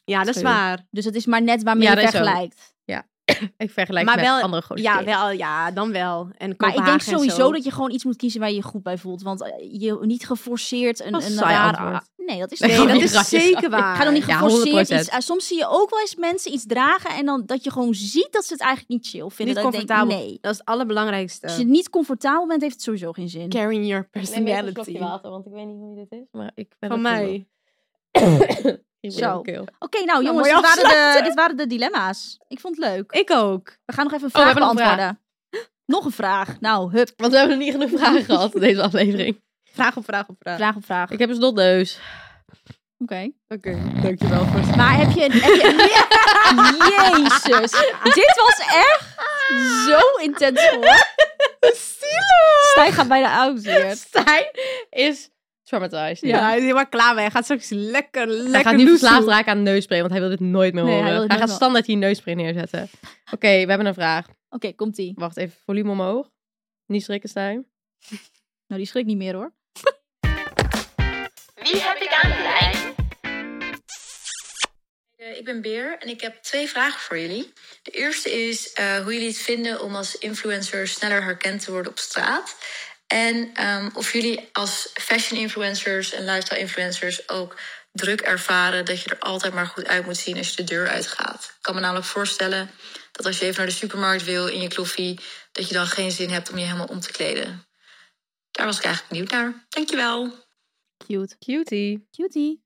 Ja, dat is Sorry. waar. Dus het is maar net waarmee Ja, je dat is ook. vergelijkt. Ja. Ik vergelijk Maar het met wel- andere grote Ja, steden. wel, ja, dan wel. En Maar ik denk Kopenhagen en sowieso zo. dat je gewoon iets moet kiezen waar je je goed bij voelt. Want eh, je niet geforceerd een, Dat is een een saai raar- antwoord. Nee, dat is Nee, Nee, gewoon dat niet. is Grapje. zeker waar. Ga dan niet Ja, geforceerd 100%. iets. eh, soms zie je ook wel eens mensen iets dragen en dan dat je gewoon ziet dat ze het eigenlijk niet chill vinden. dat Niet ik denk, comfortabel. nee. Dat is het allerbelangrijkste. Als je niet comfortabel bent, heeft het sowieso geen zin. Carrying your Neem even een slokje personality. water, want ik weet niet hoe dit is. Maar ik ben Van het mij. moe. Ik ben Zo. ook heel- Oké, nou jongens, mooi dit waren, de, dit waren de dilemma's. Ik vond het leuk. Ik ook. We gaan nog even een Oh, we vraag hebben nog een vraag. beantwoorden. Nog een vraag. Nou, hup. Want we hebben nog niet genoeg vragen gehad in deze aflevering. Vraag op vraag op vraag. Vraag op vraag. Ik heb een snotneus. Oké. Oké, dankjewel voor het Maar heb je... Heb je Jezus. Dit was echt zo intens hoor. Stijn gaat bijna oud weer. Stijn is traumatized. Ja, hij is helemaal klaar mee. Hij gaat straks lekker, lekker hij gaat nu loesoe. verslaafd raken aan neusspray, want hij wil dit nooit meer Nee, hij horen. wil dit Hij, nooit gaat standaard hier neusspray neerzetten. Oké, we hebben een vraag. Oké, komt-ie. Wacht even, volume omhoog. Niet schrikken, Stijn. Nou, die schrik niet meer hoor. Wie heb ik aan de lijn? Eh, Ik ben Beer en ik heb twee vragen voor jullie. De eerste is eh, hoe jullie het vinden om als influencer sneller herkend te worden op straat. En ehm, of jullie als fashion influencers en lifestyle influencers ook druk ervaren dat je er altijd maar goed uit moet zien als je de deur uitgaat. Ik kan me namelijk voorstellen dat als je even naar de supermarkt wil in je kloffie, dat je dan geen zin hebt om je helemaal om te kleden. Daar was ik eigenlijk benieuwd naar. Dankjewel. Cute. Cutie. Cutie.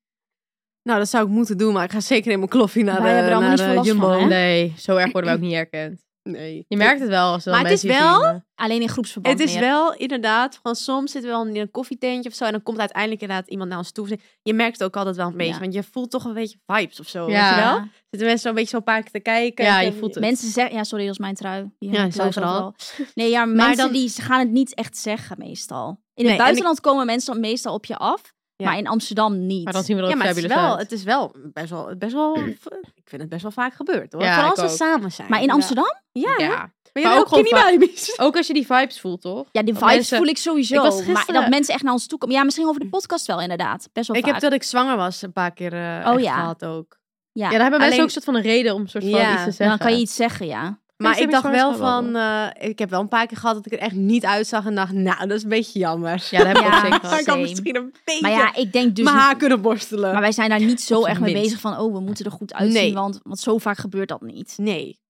Nou, dat zou ik moeten doen, maar ik ga zeker in mijn kloffie naar Wij de, hebben er allemaal naar niet de veel last Nou, eh, Jumbo. van, hè? Nee, zo erg worden we ook niet herkend. Nee. Je merkt het wel als er Maar dan het is mensen je wel- zien, eh, maar- Alleen in groepsverband Het is meer. wel inderdaad, van soms zitten we wel in een koffietentje of zo. En dan komt uiteindelijk inderdaad iemand naar ons toe. Je merkt ook altijd wel een beetje, Ja. want je voelt toch een beetje vibes of zo. Ja. Weet je wel? Ja. Zitten mensen zo een beetje zo een paar keer te kijken. Ja, En je dan- voelt het. Mensen zeggen... Ja, sorry, dat is mijn trui. Die Ja, hangt is overal. Nee, ja, mensen dan- die ze gaan het niet echt zeggen meestal. In Nee, het en buitenland komen mensen meestal op je af. Ja. Maar in Amsterdam niet. Maar dan zien we er Ja, ook maar het is fabulous wel, uit. het is wel best wel, best wel, ik vind het best wel vaak gebeurd hoor. Ja, Vooral ik als we ook. samen zijn. Maar in Amsterdam? Ja, ja. Ja. maar Maar jij ook ook niet bij Ook als je die vibes voelt, toch? Ja, die Dat vibes mensen- voel ik sowieso. Ik was gisteren- Maar dat mensen echt naar ons toe komen. Ja, misschien over de podcast wel inderdaad. Best wel Ik vaak. heb dat ik zwanger was een paar keer eh Oh, echt ja. gehad ook. Ja. Ja, daar hebben mensen Alleen- ook een soort van een reden om een soort van Ja, iets te En dan zeggen. kan je iets zeggen, ja. Maar Deze ik heb ik dacht wel zwangerschap wel van, eh, ik heb wel een paar keer gehad dat ik er echt niet uitzag en dacht, nou, dat is een beetje jammer. Ja, dat heb ik Ja. ook zeker Maar gehad. ik had same. misschien een beetje Maar ja, ik denk dus... mijn haar kunnen borstelen. Maar wij zijn daar niet zo Op zijn erg mee minst. bezig van... Oh, we moeten er goed uitzien. Nee. Want, want zo vaak gebeurt dat niet. dus Nee.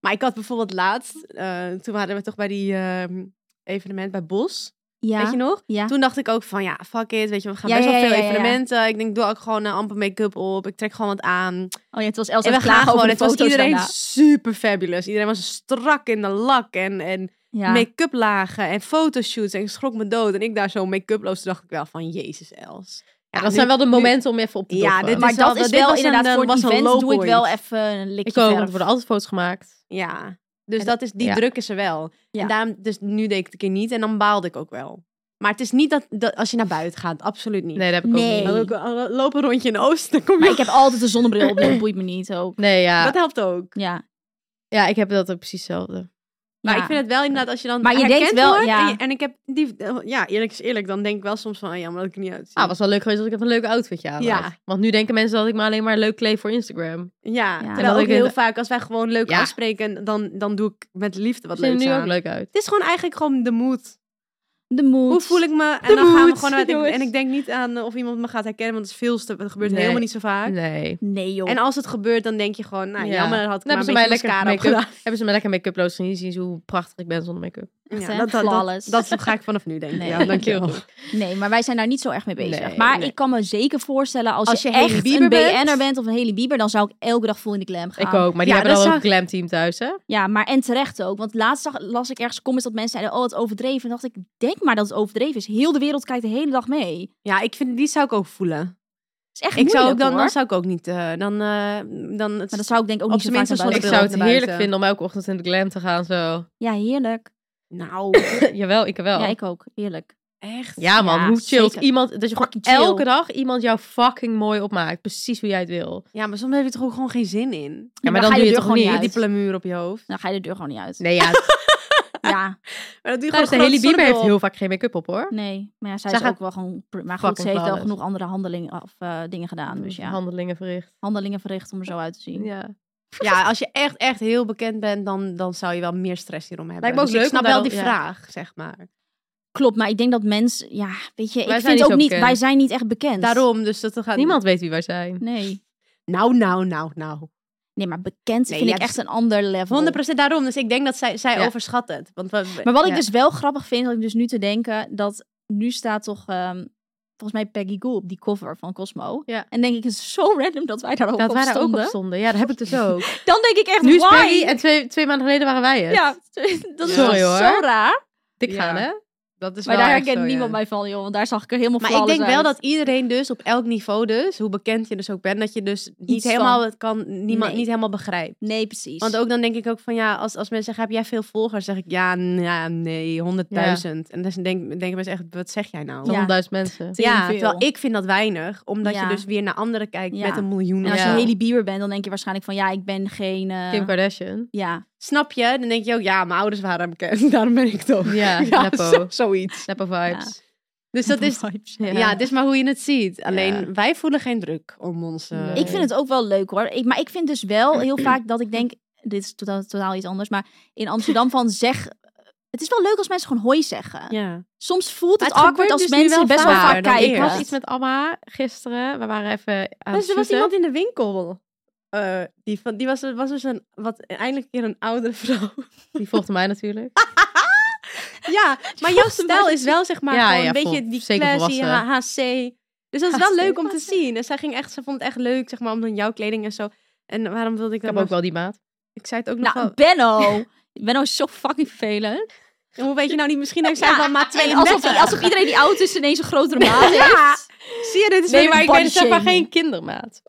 Maar ik had bijvoorbeeld laatst, eh, toen hadden we toch bij die ehm, evenement bij Bos, Ja. weet je nog? ja. Toen dacht ik ook van, ja, fuck it, weet je, we gaan Ja, best wel ja, ja, veel ja, ja. evenementen. Ik denk, doe ook gewoon een amper make-up op, ik trek gewoon wat aan. Oh ja, het was Els en we gaan klagen gewoon, over de het was foto's iedereen daarna. super fabulous. Iedereen was strak in de lak en, en Ja. make-up lagen en fotoshoots en ik schrok me dood. En ik daar zo make-uploos, toen dacht ik wel van, jezus Els. Ja, dat nu- zijn wel de nu- momenten om even op te Ja, doffen. dit maar is dat is wel- dit wel was een, inderdaad eh, voor was het een event low doe ik point. wel even een likje Ik ook, want verf. er worden altijd foto's gemaakt. Ja, dus En dat is, die ja. druk is er wel. Ja. En daarom, dus nu deed ik het een keer niet en dan baalde ik ook wel. Maar het is niet dat, dat als je naar buiten gaat, absoluut niet. Nee, dat heb ik Nee. ook niet. Ook, eh, Loop een rondje in de oosten, dan kom je Maar ik heb altijd een zonnebril op, dus dat boeit me niet ook. Nee, ja. Dat helpt ook. Ja. Ja, ik heb dat ook precies hetzelfde. Maar ja. ik vind het wel inderdaad als je dan Maar je herkend denkt wel, wordt ja. En, je- en ik heb die, eh, ja, eerlijk is eerlijk, dan denk ik wel soms van, ah, jammer dat ik er niet uitzie. Ah, was wel leuk geweest als ik even een leuk outfitje aan Ja. had. Want nu denken mensen dat ik me alleen maar leuk kleed voor Instagram. ja, Terwijl terwijl ook ik heel in- vaak als wij gewoon leuk Ja. afspreken, dan, dan doe ik met liefde wat Wat ziet er leuks nu aan. ook leuk uit. Het is gewoon eigenlijk gewoon de moed. De moed. Hoe voel ik me? En De dan gaan we moed, gewoon uit. Ik- jongens. en ik denk niet aan eh, of iemand me gaat herkennen, want het is veel te, het gebeurt Nee. helemaal niet zo vaak. Nee. Nee, joh. En als het gebeurt, dan denk je gewoon, nou Ja. jammer, had ik Dan maar een hebben ze beetje mij lekker mascara op make-up. gedaan. Hebben ze me lekker make-up loos zien zien ze hoe prachtig ik ben zonder make-up. Echt, hè? dat, dat, Flawless. dat, dat ga ik vanaf nu denken. Nee. Ja, dankjewel. Heel. Nee, maar wij zijn daar niet zo erg mee bezig. Nee, maar nee. ik kan me zeker voorstellen, als, Als je, je Hailey echt Bieber een bent- BN'er bent of een Haley Bieber, dan zou ik elke dag vol in de glam gaan. Ik ook, maar die Ah. Ja, hebben dat dan ook zag- een glam team thuis, hè? Ja, maar en terecht ook. Want laatst zag, las ik ergens comments dat mensen zeiden, oh, het overdreven. En dacht ik, denk maar dat het overdreven is. Heel de wereld kijkt de hele dag mee. Het Ja, ik vind, die zou ik ook voelen. is echt Ik zou ook moeilijk, dan, dan hoor. zou ik ook niet, eh, dan, eh, dan het, Maar dat zou ik denk ook op niet zo zijn vaak naar minst een buiten. Ik zou het naar buiten. heerlijk vinden om elke ochtend in de glam te gaan, zo. Ja, heerlijk. nou, Jawel, ik wel. Ja, Ja, ik ook. Heerlijk. echt. man, Ja, hoe chill is zeker. iemand... Dat je gewoon Fucking chill. elke dag iemand jou fucking mooi opmaakt. Precies hoe jij het wil. Ja, maar soms heb je er ook gewoon geen zin in. Nou, Ja, maar dan dan ga je doe je er toch gewoon niet niet uit. Die plamuur op je hoofd. Dan ga je de deur gewoon niet uit. Nee, ja. Ja, Maar dat doe je Trouwens, de gewoon Haley Bieber heeft zonnebril op. heel vaak geen make-up op, hoor. nee. Maar ja, zij Zij is gaat ook wel gewoon... pr- Maar goed, fucking ze heeft wel flawless. genoeg andere handelingen of eh, dingen gedaan. Dus ja, Handelingen verricht. handelingen verricht om er zo uit te zien. Ja. Ja, als je echt, echt heel bekend bent, dan, dan zou je wel meer stress hierom hebben. Lijkt me ook Dus leuk ik snap om daar wel die ook- ja. vraag, zeg maar. Klopt, maar ik denk dat mensen, ja, weet je, zijn ik vind niet ook zo niet, bekend. wij zijn niet echt bekend. Daarom, dus dat gaat... Niemand weet wie wij zijn. Nee. Nou, nou, nou, nou. Nee, maar bekend Nee, vind ja, ik dus- echt een ander level. 100% daarom. Dus ik denk dat zij, zij Ja. overschat het. Want we, Maar wat ja. ik dus wel grappig vind, dat ik dus nu te denken, dat nu staat toch ehm, volgens mij Peggy Goo op die cover van Cosmo. Ja. En denk ik, het is zo random dat wij daar ook Dat op wij daar ook op stonden. stonden. Ja, dat heb ik dus ook. Dan denk ik echt, nu is why? Peggy en twee, twee maanden geleden waren wij het. Ja, dat is Sorry, wel hoor. zo raar. Dik gaan, Ja. hè? Dat is Maar wel daar echt herkent zo, niemand ja. mij van, joh. Want daar zag ik er helemaal Maar ik flawless denk wel uit. dat iedereen dus op elk niveau dus, hoe bekend je dus ook bent, dat je dus niet Iets van. helemaal het kan, niemand Nee. niet helemaal begrijpt. Nee, precies. Want ook dan denk ik ook van ja, als, als mensen zeggen, heb jij veel volgers? Zeg ik ja, n- ja nee, 100.000. En dan denk, denken mensen echt, wat zeg jij nou? Zo'n Ja. 100.000 mensen. Te Ja, veel. terwijl ik vind dat weinig, omdat Ja. je dus weer naar anderen kijkt Ja. met een miljoen. En als of je zo. Ja. Haley Bieber bent, dan denk je waarschijnlijk van, ja, ik ben geen... eh, Kim Kardashian. ja, Snap je? Dan denk je ook, ja, mijn ouders waren bekend, daarom ben ik toch. Ja, Nepo. zo- zoiets. Snapper vibes. Dus dat is, Ja. ja, het is maar hoe je het ziet. Alleen, wij voelen geen druk om ons... eh, Nee. Ik vind het ook wel leuk hoor. Ik, maar ik vind dus wel heel vaak dat ik denk, dit is totaal, totaal iets anders, maar in Amsterdam van zeg, het is wel leuk als mensen gewoon hoi zeggen. Ja. Soms voelt het, Maar het awkward gebeurt als dus nu mensen wel best wel vaker vaak dan kijken. Ik eerst. was iets met Amma gisteren. We waren even aan Dus het er was zoeten. iemand in de winkel. eh, die van, die was, was dus een, wat, eindelijk een keer een oudere vrouw. Die volgde mij natuurlijk. Ah. ja, maar jouw stijl is wel zeg maar Ja, gewoon ja, een beetje vol- die zeker classy volwassen. H- HC. Dus dat is wel HC. leuk om te zien. En zij ging echt, ze vond het echt leuk zeg maar om dan jouw kleding en zo. En waarom wilde ik Ik dat heb ook nog- wel die maat. Ik zei het ook nog Nou, wel. Benno. Benno is zo fucking vervelend. En Hoe weet je nou niet? Misschien heeft zij Ja, wel maar en twee alsof, alsof iedereen die oud is ineens een grotere maat heeft. Ja. Zie je, dit is Nee, weer maar een ik ben body zeg maar shaming. Geen kindermaat.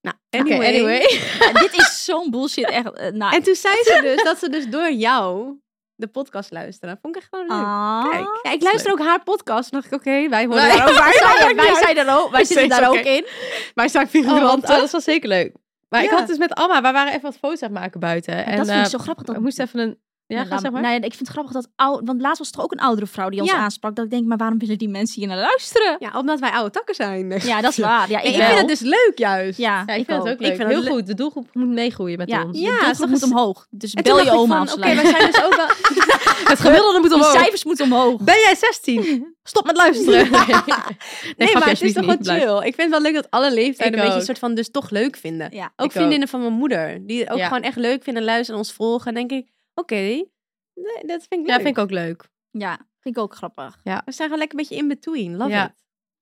Nou, Oké, anyway. Ja, dit is zo'n bullshit echt. eh, nou, En toen zei ze dus dat ze dus door jou de podcast luisteren. Vond ik echt gewoon leuk. ah. Kijk, ja, ik luister ook haar podcast. Dan dacht ik, oké, wij horen Wij- daar ook bij. Wij, zijn- wij Maakt zijn er ook, wij Is zitten steeds daar ook oké. in. niet. wij zijn Oh, want, figuranten. oh, dat was zeker leuk. Maar ik Ja. had dus met Amma, we waren even wat foto's aan het maken buiten. en dat vind ik eh, zo grappig. Dat we moesten even een... Ja, Nou, ga laat- zeg maar. nou ja, ik vind het grappig dat oud, want laatst was er ook een oudere vrouw die ons Ja. aansprak. Dat ik denk, maar waarom willen die mensen hier naar luisteren? ja, omdat wij oude takken zijn. Ja, dat is waar. Ja, ik, Nee, ik wel. vind het dus leuk juist. Ja, Ja, ik, ik vind ook. het ook Ik leuk. vind het Heel le- goed. De doelgroep moet meegroeien met Ja, ons. Ja, ja, de doelgroep toch moet is- omhoog. Dus En toen bel je dacht ik oma van, als Oké, het luistert. wij zijn dus ook wel... Het gemiddelde moet Die omhoog. cijfers moeten omhoog. Ben jij 16? Stop met luisteren. Nee, maar het is toch wel goed chill. Ik vind het wel leuk dat alle leeftijden een Ik beetje ook. een soort van dus toch leuk vinden. Ja. Ook Ik vriendinnen van mijn moeder. Die ook Ja. gewoon echt leuk vinden, luisteren, ons volgen. En denk ik, oké, nee, dat vind ik leuk. Ja, vind ik ook leuk. ja, vind ik ook grappig. We zijn gewoon lekker een beetje in between. Love Ja. it.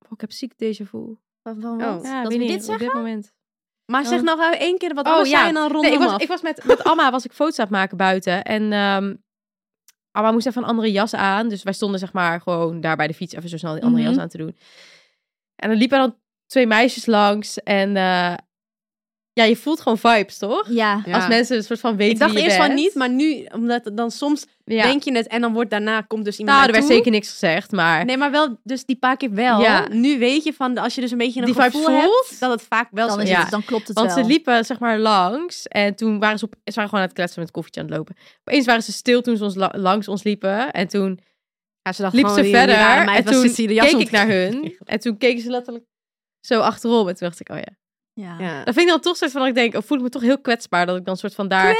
Oh, ik heb ziek déjà vu. wat? Oh. Dat Ja, weet we niet, dit Op zeggen? dit moment. Oh. Maar zeg Oh. nog wel één keer wat Oh, anders ja. zei en dan rondom Nee, ik was, af. ik was met, met Amma was ik foto's aan het maken buiten. En ehm Amma moest even een andere jas aan. Dus wij stonden zeg maar gewoon daar bij de fiets even zo snel die andere Mhm. jas aan te doen. En dan liepen er dan twee meisjes langs. En eh, ja, je voelt gewoon vibes, toch? Ja. Ja. Als mensen een soort van weten Ik dacht wie je eerst van bent. niet, maar nu, omdat het dan soms Ja. denk je het en dan wordt daarna komt dus iemand nou, er werd naartoe. zeker niks gezegd, maar... Nee, maar wel dus die paar keer wel. Ja. Nu weet je van als je dus een beetje een Die vibes gevoel hebt voelt, dat het vaak wel Dan, zo is is. Ja. het, dan klopt het Want wel. ze liepen zeg maar langs en toen waren ze, op, ze waren gewoon aan het kletsen met een koffietje aan het lopen. Opeens waren ze stil toen ze ons la- langs ons liepen en toen Ja, ze dacht liep gewoon, ze die- die verder Oh, rare meid en was toen zit hier de jas keek om ik te- naar hun en toen keken ze letterlijk zo achterom en toen dacht ik, oh ja. Ja. Ja. Dat vind ik dan toch soort van, dat ik denk, oh, voel ik me toch heel kwetsbaar dat ik dan soort van daar...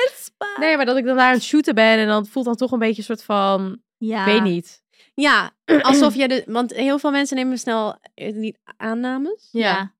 Nee, maar dat ik dan daar aan het shooten ben en dan voelt dan toch een beetje een soort van, Ja. weet niet. Ja, alsof je de, want heel veel mensen nemen snel eh, niet aannames. Ja.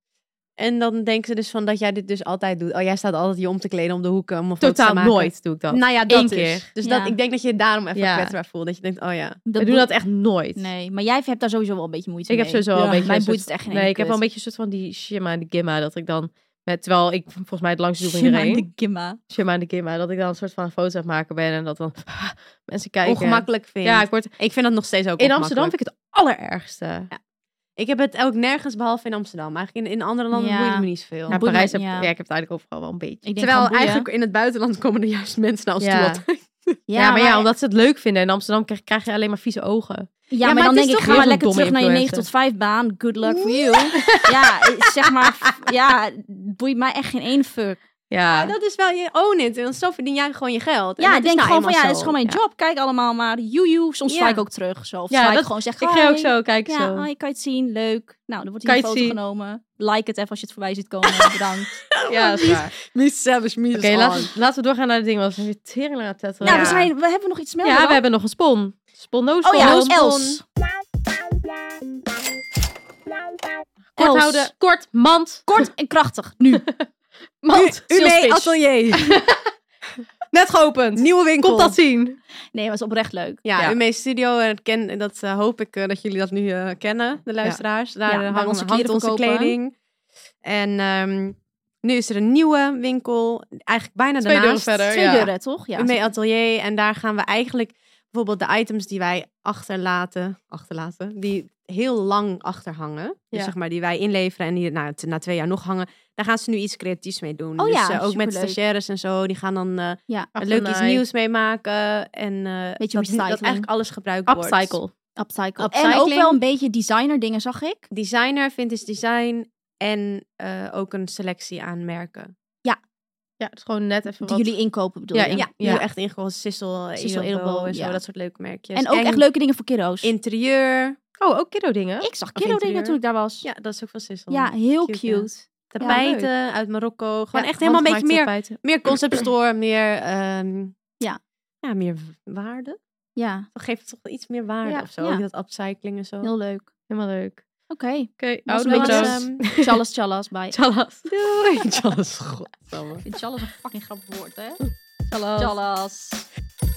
En dan denken ze dus van dat jij dit dus altijd doet. Oh, jij staat altijd je om te kleden om de hoek eh, om een foto te Totaal maken. nooit doe ik dat. Nou ja, dat Eén is. keer. Dus Ja. dat, ik denk dat je je daarom even Ja. kwetsbaar voelt. Dat je denkt, oh ja. We doen dat echt nooit. Nee, maar jij hebt daar sowieso wel een beetje moeite Ik mee. heb sowieso wel Ja. een beetje... Mij een soort- boeit het echt geen Nee, ene ik heb wel een kut. beetje een soort van die shimma en de gimma. Dat ik dan, met, terwijl ik volgens mij het langste doe van Shima en iedereen. de Gimma. Shimma en de gimma. Dat ik dan een soort van foto's aan het maken ben. En dat dan mensen kijken. Ongemakkelijk vind. Ja, ik word... Ik vind dat nog steeds ook In Amsterdam vind ik het allerergste. Ja, Ik heb het ook nergens behalve in Amsterdam. Eigenlijk in, in andere landen Ja. boeit het me niet zoveel. boeit Parijs me- heb ja. ja, ik heb het eigenlijk overal wel een beetje. Ik denk Terwijl van, boeien. eigenlijk in het buitenland komen er juist mensen naar ons Ja. toe. altijd. Ja, maar, ja, omdat ze het leuk vinden. In Amsterdam krijg, krijg je alleen maar vieze ogen. Ja, maar maar, het dan is denk ik, toch ga weer maar zo'n lekker domme terug naar je 9 tot 5 influencer. baan. Good luck for you. ja, eh, zeg maar, f- ja, het boeit mij echt geen één fuck. Ja. Maar dat is wel je own it. Want zo verdien jij gewoon je geld. En Ja, dat ik is denk nou gewoon van ja, eenmaal het is gewoon mijn Ja. job. Kijk allemaal maar, joejoe. Soms Ja. swipe ik ook terug. Zo. Of Ja, swipe dat- gewoon zeg Ik ga ook hi. zo kijken. Ja, oh, zo. hi, kan je het zien? Leuk. Nou, dan wordt Kan hier een je foto het zien? genomen. Like het even als je het voorbij ziet komen. Bedankt. ja, dat is waar. Mies savage, mies Oké, laten, we- laten we doorgaan naar de dingen. Want we zijn weer tering aan het tetteren. Nou, we, ja. zijn, we hebben nog iets meer. Ja, we hebben nog een spon. Spon, no Oh spon. ja, no Els. spon. Els. Kort Els. houden. Kort. Mand. Kort en krachtig. Nu. Mand. Ume Salespitch. Oh, Atelier. Net geopend. Nieuwe winkel. Komt dat zien. Nee, was oprecht leuk. Ja, Ja. Ume Studio. En ken, en dat eh, hoop ik eh, dat jullie dat nu eh, kennen, de luisteraars. Daar Ja, eh, waar hangen, onze onze kleren hangt onze verkopen. kleding. En ehm, nu is er een nieuwe winkel. Eigenlijk bijna Twee deuren daarnaast. verder. Twee ja. deuren, toch? Ja. Ume Atelier. En daar gaan we eigenlijk bijvoorbeeld de items die wij achterlaten, achterlaten die heel lang achterhangen. Dus Ja. zeg maar die wij inleveren en die nou, t- na twee jaar nog hangen. Daar gaan ze nu iets creatiefs mee doen. Oh dus ja, eh, ook met superleuk. stagiaires en zo. Die gaan dan eh, ja. leuk iets Achternaai. nieuws mee maken. En eh Beetje dat, dat recycling. eigenlijk alles gebruikt wordt. Upcycle. Upcycle. En ook Upcycling. wel een beetje designer dingen, zag ik. Designer, vintage design en eh, ook een selectie aan merken. Ja, het is gewoon net even Die wat. jullie inkopen bedoel Ja, je? in- Ja, dus ja. ja. echt ingekocht. Sissel, Sissel, Sissel Edelbo en zo. ja. Dat soort leuke merkjes. En ook echt leuke dingen voor kiddo's. interieur. Oh, ook kiddo dingen. Ik zag Of kiddo dingen interieur. toen ik daar was. Ja, dat is ook van Sissel. Ja, heel Cute, cute. ja. Tapijten uit Marokko. Gewoon echt helemaal een beetje meer, meer concept store, meer, ehm, Ja. ja, meer w- waarde. Ja, Dat geeft het toch wel iets meer waarde Ja, of zo. ja. ook Dat upcycling en zo. heel leuk. Helemaal leuk. Oké. Oké, Was oude nog Dus, Bedankt. auto's. eens, ehm, Challas, challas, bye. Tjallas. doei. Charles, godsamme. Ik vind challas een fucking grappig woord, hè? Tjallas. Challas.